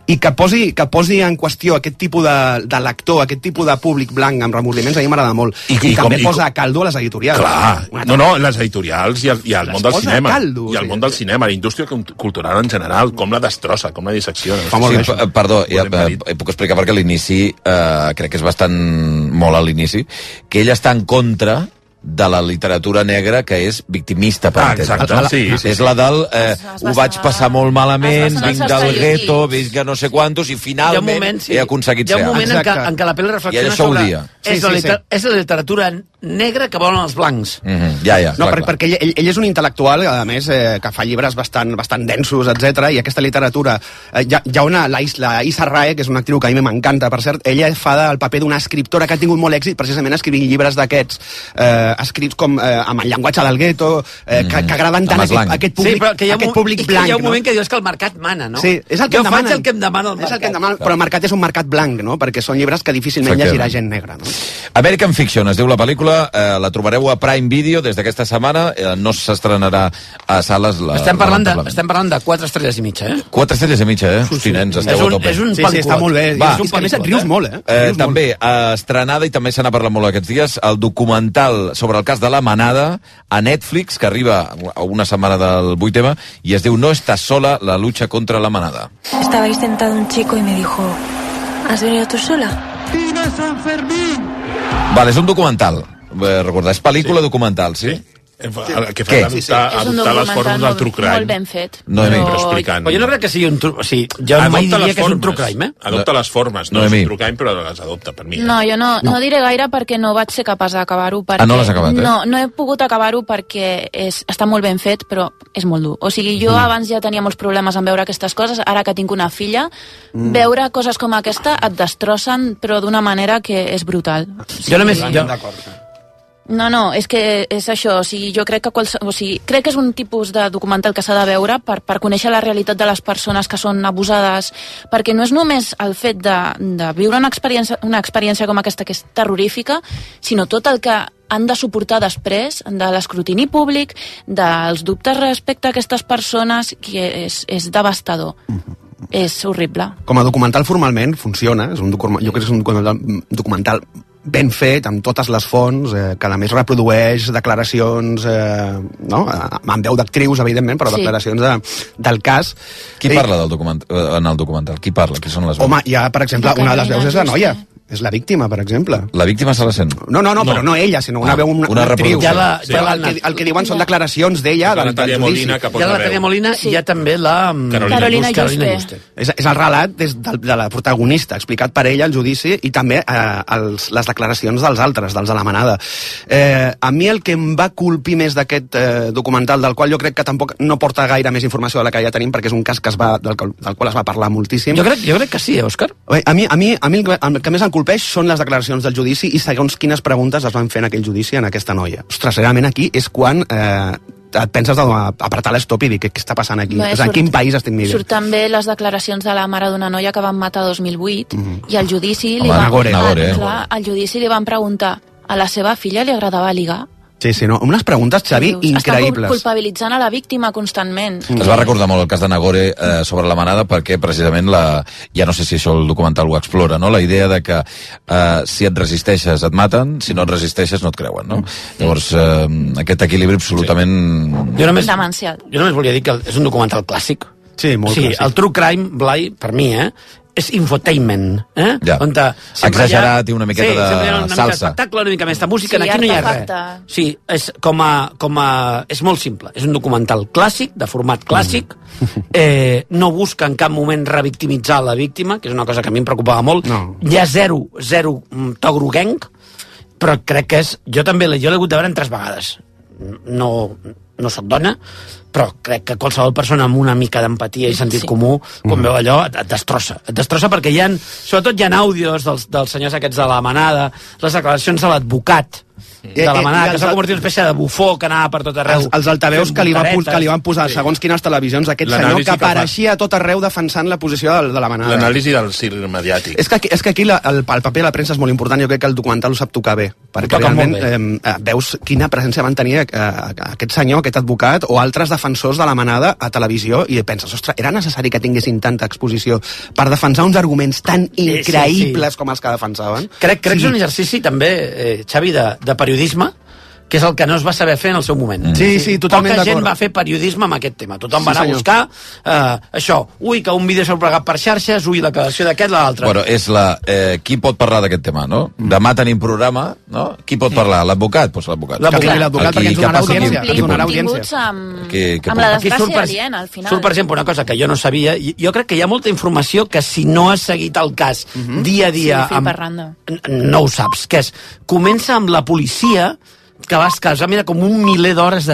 [SPEAKER 5] i que posi, que posi en qüestió aquest tipus de, de lector, aquest tipus de públic blanc amb remordiments, a mi m'agrada molt i, i, i també com, posa i, a caldo a les editorials
[SPEAKER 15] Clar, no, no, les editorials i el, i el món del
[SPEAKER 5] posa a
[SPEAKER 15] cinema.
[SPEAKER 5] caldo,
[SPEAKER 15] I el món del cinema, la indústria cult- cultural en general, com la destrossa, com la dissecciona.
[SPEAKER 3] sí, p- perdó, ja, eh, puc explicar perquè l'inici eh, crec que és bastant molt a l'inici, que ell està en contra de la literatura negra que és victimista per
[SPEAKER 15] Ah,
[SPEAKER 3] entendre.
[SPEAKER 15] exacte,
[SPEAKER 3] La-
[SPEAKER 15] sí, sí,
[SPEAKER 3] és
[SPEAKER 15] sí.
[SPEAKER 3] la del eh, ho vaig passar molt malament
[SPEAKER 14] es va
[SPEAKER 3] vinc
[SPEAKER 14] saber
[SPEAKER 3] del
[SPEAKER 14] llegir.
[SPEAKER 3] gueto, vinc de no sé quantos
[SPEAKER 14] Hi
[SPEAKER 3] i
[SPEAKER 14] ha un
[SPEAKER 3] finalment
[SPEAKER 14] moment, sí.
[SPEAKER 3] he aconseguit
[SPEAKER 14] Hi ha
[SPEAKER 3] ser
[SPEAKER 14] un moment en
[SPEAKER 3] alt.
[SPEAKER 14] què, en què la pel·li
[SPEAKER 3] I
[SPEAKER 14] reflexiona
[SPEAKER 3] això ho
[SPEAKER 14] sobre...
[SPEAKER 3] dia.
[SPEAKER 14] És,
[SPEAKER 5] Sí,
[SPEAKER 14] la
[SPEAKER 5] sí,
[SPEAKER 14] liter-
[SPEAKER 5] sí.
[SPEAKER 14] és la literatura negra que volen els blancs.
[SPEAKER 3] Mhm, Ja, ja,
[SPEAKER 5] No,
[SPEAKER 3] clar,
[SPEAKER 5] per,
[SPEAKER 3] clar.
[SPEAKER 5] perquè ell, ell, ell és un intel·lectual, a més, eh, que fa llibres bastant, bastant densos, etc. i aquesta literatura... Eh, hi, ha, hi ha una, la, Is- la Issa Rae, que és una actriu que a mi m'encanta, per cert, ella fa el paper d'una escriptora que ha tingut molt èxit precisament escrivint llibres d'aquests, eh, escrits com eh, amb el llenguatge del gueto, eh,
[SPEAKER 3] Mm.
[SPEAKER 5] que, que agraden tant a aquest, aquest públic,
[SPEAKER 14] sí, però que hi ha un,
[SPEAKER 5] aquest públic
[SPEAKER 14] i que
[SPEAKER 5] blanc.
[SPEAKER 14] Hi ha un moment
[SPEAKER 5] no?
[SPEAKER 14] que dius que el mercat mana, no?
[SPEAKER 5] Sí, és el que
[SPEAKER 14] jo
[SPEAKER 5] em
[SPEAKER 14] faig
[SPEAKER 5] demanen.
[SPEAKER 14] el que em demana el mercat.
[SPEAKER 5] És el que em demana, però el mercat és un mercat blanc, no? Perquè són llibres que difícilment
[SPEAKER 3] Efectivament.
[SPEAKER 5] llegirà gent negra. No?
[SPEAKER 3] American Fiction es diu la pel·lícula, eh, la trobareu a Prime Video des d'aquesta setmana, eh, no s'estrenarà a sales la...
[SPEAKER 14] Estem parlant, de,
[SPEAKER 3] Ah, lamentablement.
[SPEAKER 14] estem parlant de quatre estrelles i mitja, eh?
[SPEAKER 3] Quatre estrelles i mitja, eh? Hosti, nens, esteu
[SPEAKER 14] És un-
[SPEAKER 3] a tope.
[SPEAKER 14] és un Sí, sí, pel·lícula. està molt bé.
[SPEAKER 3] Va.
[SPEAKER 14] És un És que a més et rius pel·lícula, eh? molt, eh? Et
[SPEAKER 3] eh
[SPEAKER 14] rius
[SPEAKER 3] també, eh, estrenada, i també se n'ha parlat molt aquests dies, el documental sobre el cas de la manada a Netflix, que arriba a una setmana del 8M, i es diu No estàs sola, la lucha contra la manada.
[SPEAKER 4] Estaba ahí sentado un chico y me dijo, ¿has venido tú sola? ¡Viva San Fermín!
[SPEAKER 3] Vale, és un documental, eh, recordar, és pel·lícula sí. documental, sí?
[SPEAKER 15] Eh, El que fa és adoptar,
[SPEAKER 13] És un
[SPEAKER 15] adoptar les formes del
[SPEAKER 13] documental
[SPEAKER 15] true
[SPEAKER 13] molt,
[SPEAKER 15] crime.
[SPEAKER 13] molt ben fet.
[SPEAKER 3] Ah, No,
[SPEAKER 15] Noemí.
[SPEAKER 13] però-
[SPEAKER 15] Però explicant.
[SPEAKER 14] Però jo no crec que sigui un... Tru... O sigui, jo mai
[SPEAKER 15] Adopta
[SPEAKER 14] diria
[SPEAKER 15] les
[SPEAKER 14] que és un
[SPEAKER 15] formes.
[SPEAKER 14] true crime, eh?
[SPEAKER 15] Adopta les formes, no, no és un true crime, però les adopta per mi. eh?
[SPEAKER 13] No, jo no, no. no diré gaire perquè no vaig ser capaç d'acabar-ho. perquè-
[SPEAKER 15] Ah, no l'has acabat, eh?
[SPEAKER 13] No, no he pogut acabar-ho perquè és, està molt ben fet, però és molt dur. O sigui, jo mm. abans ja tenia molts problemes en veure aquestes coses, ara que tinc una filla, mm. veure coses com aquesta et destrossen, però d'una manera que és brutal.
[SPEAKER 14] Jo només... Jo...
[SPEAKER 13] No, no, és que és això, o sigui, jo crec que qualse... o sigui, crec que és un tipus de documental que s'ha de veure per, per conèixer la realitat de les persones que són abusades, perquè no és només el fet de, de viure una experiència, una experiència com aquesta que és terrorífica, sinó tot el que han de suportar després de l'escrutini públic, dels dubtes respecte a aquestes persones, que és, és devastador. És horrible.
[SPEAKER 5] com a documental formalment funciona, és un documental, jo crec que és un documental, mm, documental ben fet, amb totes les fonts, eh, que a més reprodueix declaracions, eh, no? Eh, amb veu d'actrius, evidentment, però
[SPEAKER 3] Sí.
[SPEAKER 5] sí. declaracions de, del cas.
[SPEAKER 3] Qui parla del document, eh, en el documental? Qui parla? Qui són les veus?
[SPEAKER 5] Home, hi ha, per exemple,
[SPEAKER 3] La
[SPEAKER 5] una de les
[SPEAKER 3] Carolina
[SPEAKER 5] veus és la
[SPEAKER 3] Juste.
[SPEAKER 5] noia, és la víctima, per exemple.
[SPEAKER 3] La víctima se la sent?
[SPEAKER 5] No, no, no, però no ella, sinó una
[SPEAKER 3] Ah,
[SPEAKER 5] veu, una,
[SPEAKER 3] una
[SPEAKER 5] actriu.
[SPEAKER 3] reproducció. Ja la-
[SPEAKER 5] Sí.
[SPEAKER 14] ja la-
[SPEAKER 5] el, que, el que diuen són declaracions d'ella,
[SPEAKER 14] La
[SPEAKER 5] del, del
[SPEAKER 14] Natalia
[SPEAKER 5] judici.
[SPEAKER 14] Molina, que posa Hi ha la Natalia veu. Molina i hi ha també la... mm,
[SPEAKER 13] Carolina Carolina Juste. Carolina Juste.
[SPEAKER 5] És, és el relat des de, de la protagonista, explicat per ella, el judici, i també eh, els, les declaracions dels altres, dels de la manada. Eh, a mi el que em va colpir més d'aquest eh, documental, del qual jo crec que tampoc no porta gaire més informació de la que ja tenim, perquè és un cas que es va, del, qual- del qual es va parlar moltíssim.
[SPEAKER 14] Jo crec, jo crec que sí, eh, Òscar?
[SPEAKER 5] Bé, A mi, a mi, a mi el, que, el que més em colpeix són les declaracions del judici i segons quines preguntes es van fer en aquell judici en aquesta noia. Ostres, realment aquí és quan eh, et penses d'apretar l'estop i dir què, què està passant aquí?
[SPEAKER 13] No,
[SPEAKER 5] és a dir, en
[SPEAKER 13] surt-
[SPEAKER 5] quin país estic vivint?
[SPEAKER 13] Surt també les declaracions de la mare d'una noia que van matar 2008 i al judici li
[SPEAKER 5] Home,
[SPEAKER 13] van...
[SPEAKER 5] Nagore, Nagore, eh?
[SPEAKER 13] clar, al judici li van preguntar a la seva filla li agradava ligar?
[SPEAKER 5] Sí, sí, no? Unes preguntes, Xavi,
[SPEAKER 13] Està
[SPEAKER 5] increïbles.
[SPEAKER 13] culpabilitzant a la víctima constantment.
[SPEAKER 3] Mm.
[SPEAKER 5] Mm-hmm.
[SPEAKER 3] Es va recordar molt el cas de Nagore eh, sobre la manada perquè precisament la, ja no sé si això el documental ho explora, no? la idea de que eh, si et resisteixes et maten, si no et resisteixes no et creuen. No?
[SPEAKER 5] Mm-hmm.
[SPEAKER 3] Llavors eh, aquest equilibri absolutament...
[SPEAKER 14] Jo només-
[SPEAKER 13] Demencial.
[SPEAKER 14] Jo només volia dir que és un documental clàssic.
[SPEAKER 5] Sí, molt
[SPEAKER 14] sí,
[SPEAKER 5] clàssic.
[SPEAKER 14] El true crime, Blai, per mi, eh, és infotainment. Eh?
[SPEAKER 3] Ja.
[SPEAKER 14] On te- sempre
[SPEAKER 3] Exagerat i una miqueta
[SPEAKER 14] sí,
[SPEAKER 3] de
[SPEAKER 14] sempre hi ha una mica
[SPEAKER 3] salsa.
[SPEAKER 14] d'espectacle, una mica més de música,
[SPEAKER 13] Mm. Sí,
[SPEAKER 14] sí, aquí no hi ha res.
[SPEAKER 13] artefacte.
[SPEAKER 14] Sí, és, com a, com a, és molt simple. És un documental clàssic, de format clàssic.
[SPEAKER 3] Mm.
[SPEAKER 14] Eh, no busca en cap moment revictimitzar la víctima, que és una cosa que a mi em preocupava molt. No. Hi ha zero, zero mm, to groguenc, però crec que és... Jo també l'he jo l'he hagut de veure en tres vegades. No, no sóc dona, però crec que qualsevol persona amb una mica d'empatia i sentit sí. comú,
[SPEAKER 5] Mm-hmm.
[SPEAKER 14] quan veu allò, et, et destrossa. Et destrossa perquè hi ha, sobretot hi ha àudios dels, dels senyors aquests de la manada, les declaracions de l'advocat,
[SPEAKER 5] Eh,
[SPEAKER 14] de la manada, que s'ha convertit en una espècie de bufó que anava per tot arreu.
[SPEAKER 5] Els, els altaveus
[SPEAKER 14] fent
[SPEAKER 5] que li, va, pu-
[SPEAKER 14] voltaretes.
[SPEAKER 5] que li van posar sí. segons quines televisions aquest senyor
[SPEAKER 15] L'anàlisi
[SPEAKER 5] que
[SPEAKER 15] que fa.
[SPEAKER 5] apareixia a tot arreu defensant la posició de, de la manada.
[SPEAKER 15] L'anàlisi del circ mediàtic.
[SPEAKER 5] És que, aquí- és que aquí la, el, el paper de la premsa és molt important, jo crec que el documental ho sap tocar bé, perquè
[SPEAKER 15] toca
[SPEAKER 5] realment
[SPEAKER 15] molt
[SPEAKER 5] eh, eh, veus quina presència van tenir eh, aquest senyor, aquest advocat o altres defensors de la manada a televisió i penses, ostres, era necessari que tinguessin tanta exposició per defensar uns arguments tan
[SPEAKER 14] sí, sí.
[SPEAKER 5] increïbles com els que defensaven?
[SPEAKER 14] Crec, crec sí. que és un exercici també, eh, Xavi, de, de periodisme, que és el que no es va saber fer en el seu moment.
[SPEAKER 5] Mm. Sí, sí, totalment
[SPEAKER 14] Poca gent
[SPEAKER 5] d'acord.
[SPEAKER 14] va fer periodisme amb aquest tema. Tothom
[SPEAKER 5] Sí,
[SPEAKER 14] va anar a
[SPEAKER 5] senyor.
[SPEAKER 14] buscar eh, això. Ui, que un vídeo s'ha plegat per xarxes, ui, la declaració d'aquest, la d'altre.
[SPEAKER 3] Bueno, és la... Eh, qui pot parlar d'aquest tema, no?
[SPEAKER 5] Mm-hmm.
[SPEAKER 3] Demà tenim programa, no? Qui pot parlar? L'advocat? Doncs l'advocat.
[SPEAKER 5] L'advocat.
[SPEAKER 3] Que vingui
[SPEAKER 5] L'advocat,
[SPEAKER 3] Aquí,
[SPEAKER 5] perquè ens
[SPEAKER 3] que
[SPEAKER 5] donarà
[SPEAKER 3] passi qui-
[SPEAKER 5] audiència,
[SPEAKER 3] qui
[SPEAKER 5] ens donarà
[SPEAKER 3] pugui.
[SPEAKER 13] Tinguts amb,
[SPEAKER 3] Que- que
[SPEAKER 13] amb la
[SPEAKER 3] pugui.
[SPEAKER 14] Aquí surt
[SPEAKER 13] desgràcia
[SPEAKER 14] per-
[SPEAKER 13] aliena, al final.
[SPEAKER 14] Surt, per exemple, una cosa que jo no sabia. i Jo crec que hi ha molta informació que si no has seguit el cas
[SPEAKER 5] Mhm.
[SPEAKER 14] dia a dia
[SPEAKER 13] Sí, fil
[SPEAKER 14] amb,
[SPEAKER 13] per randa.
[SPEAKER 14] no ho saps, que és, comença amb la policia que vas casar, mira, com un miler d'hores de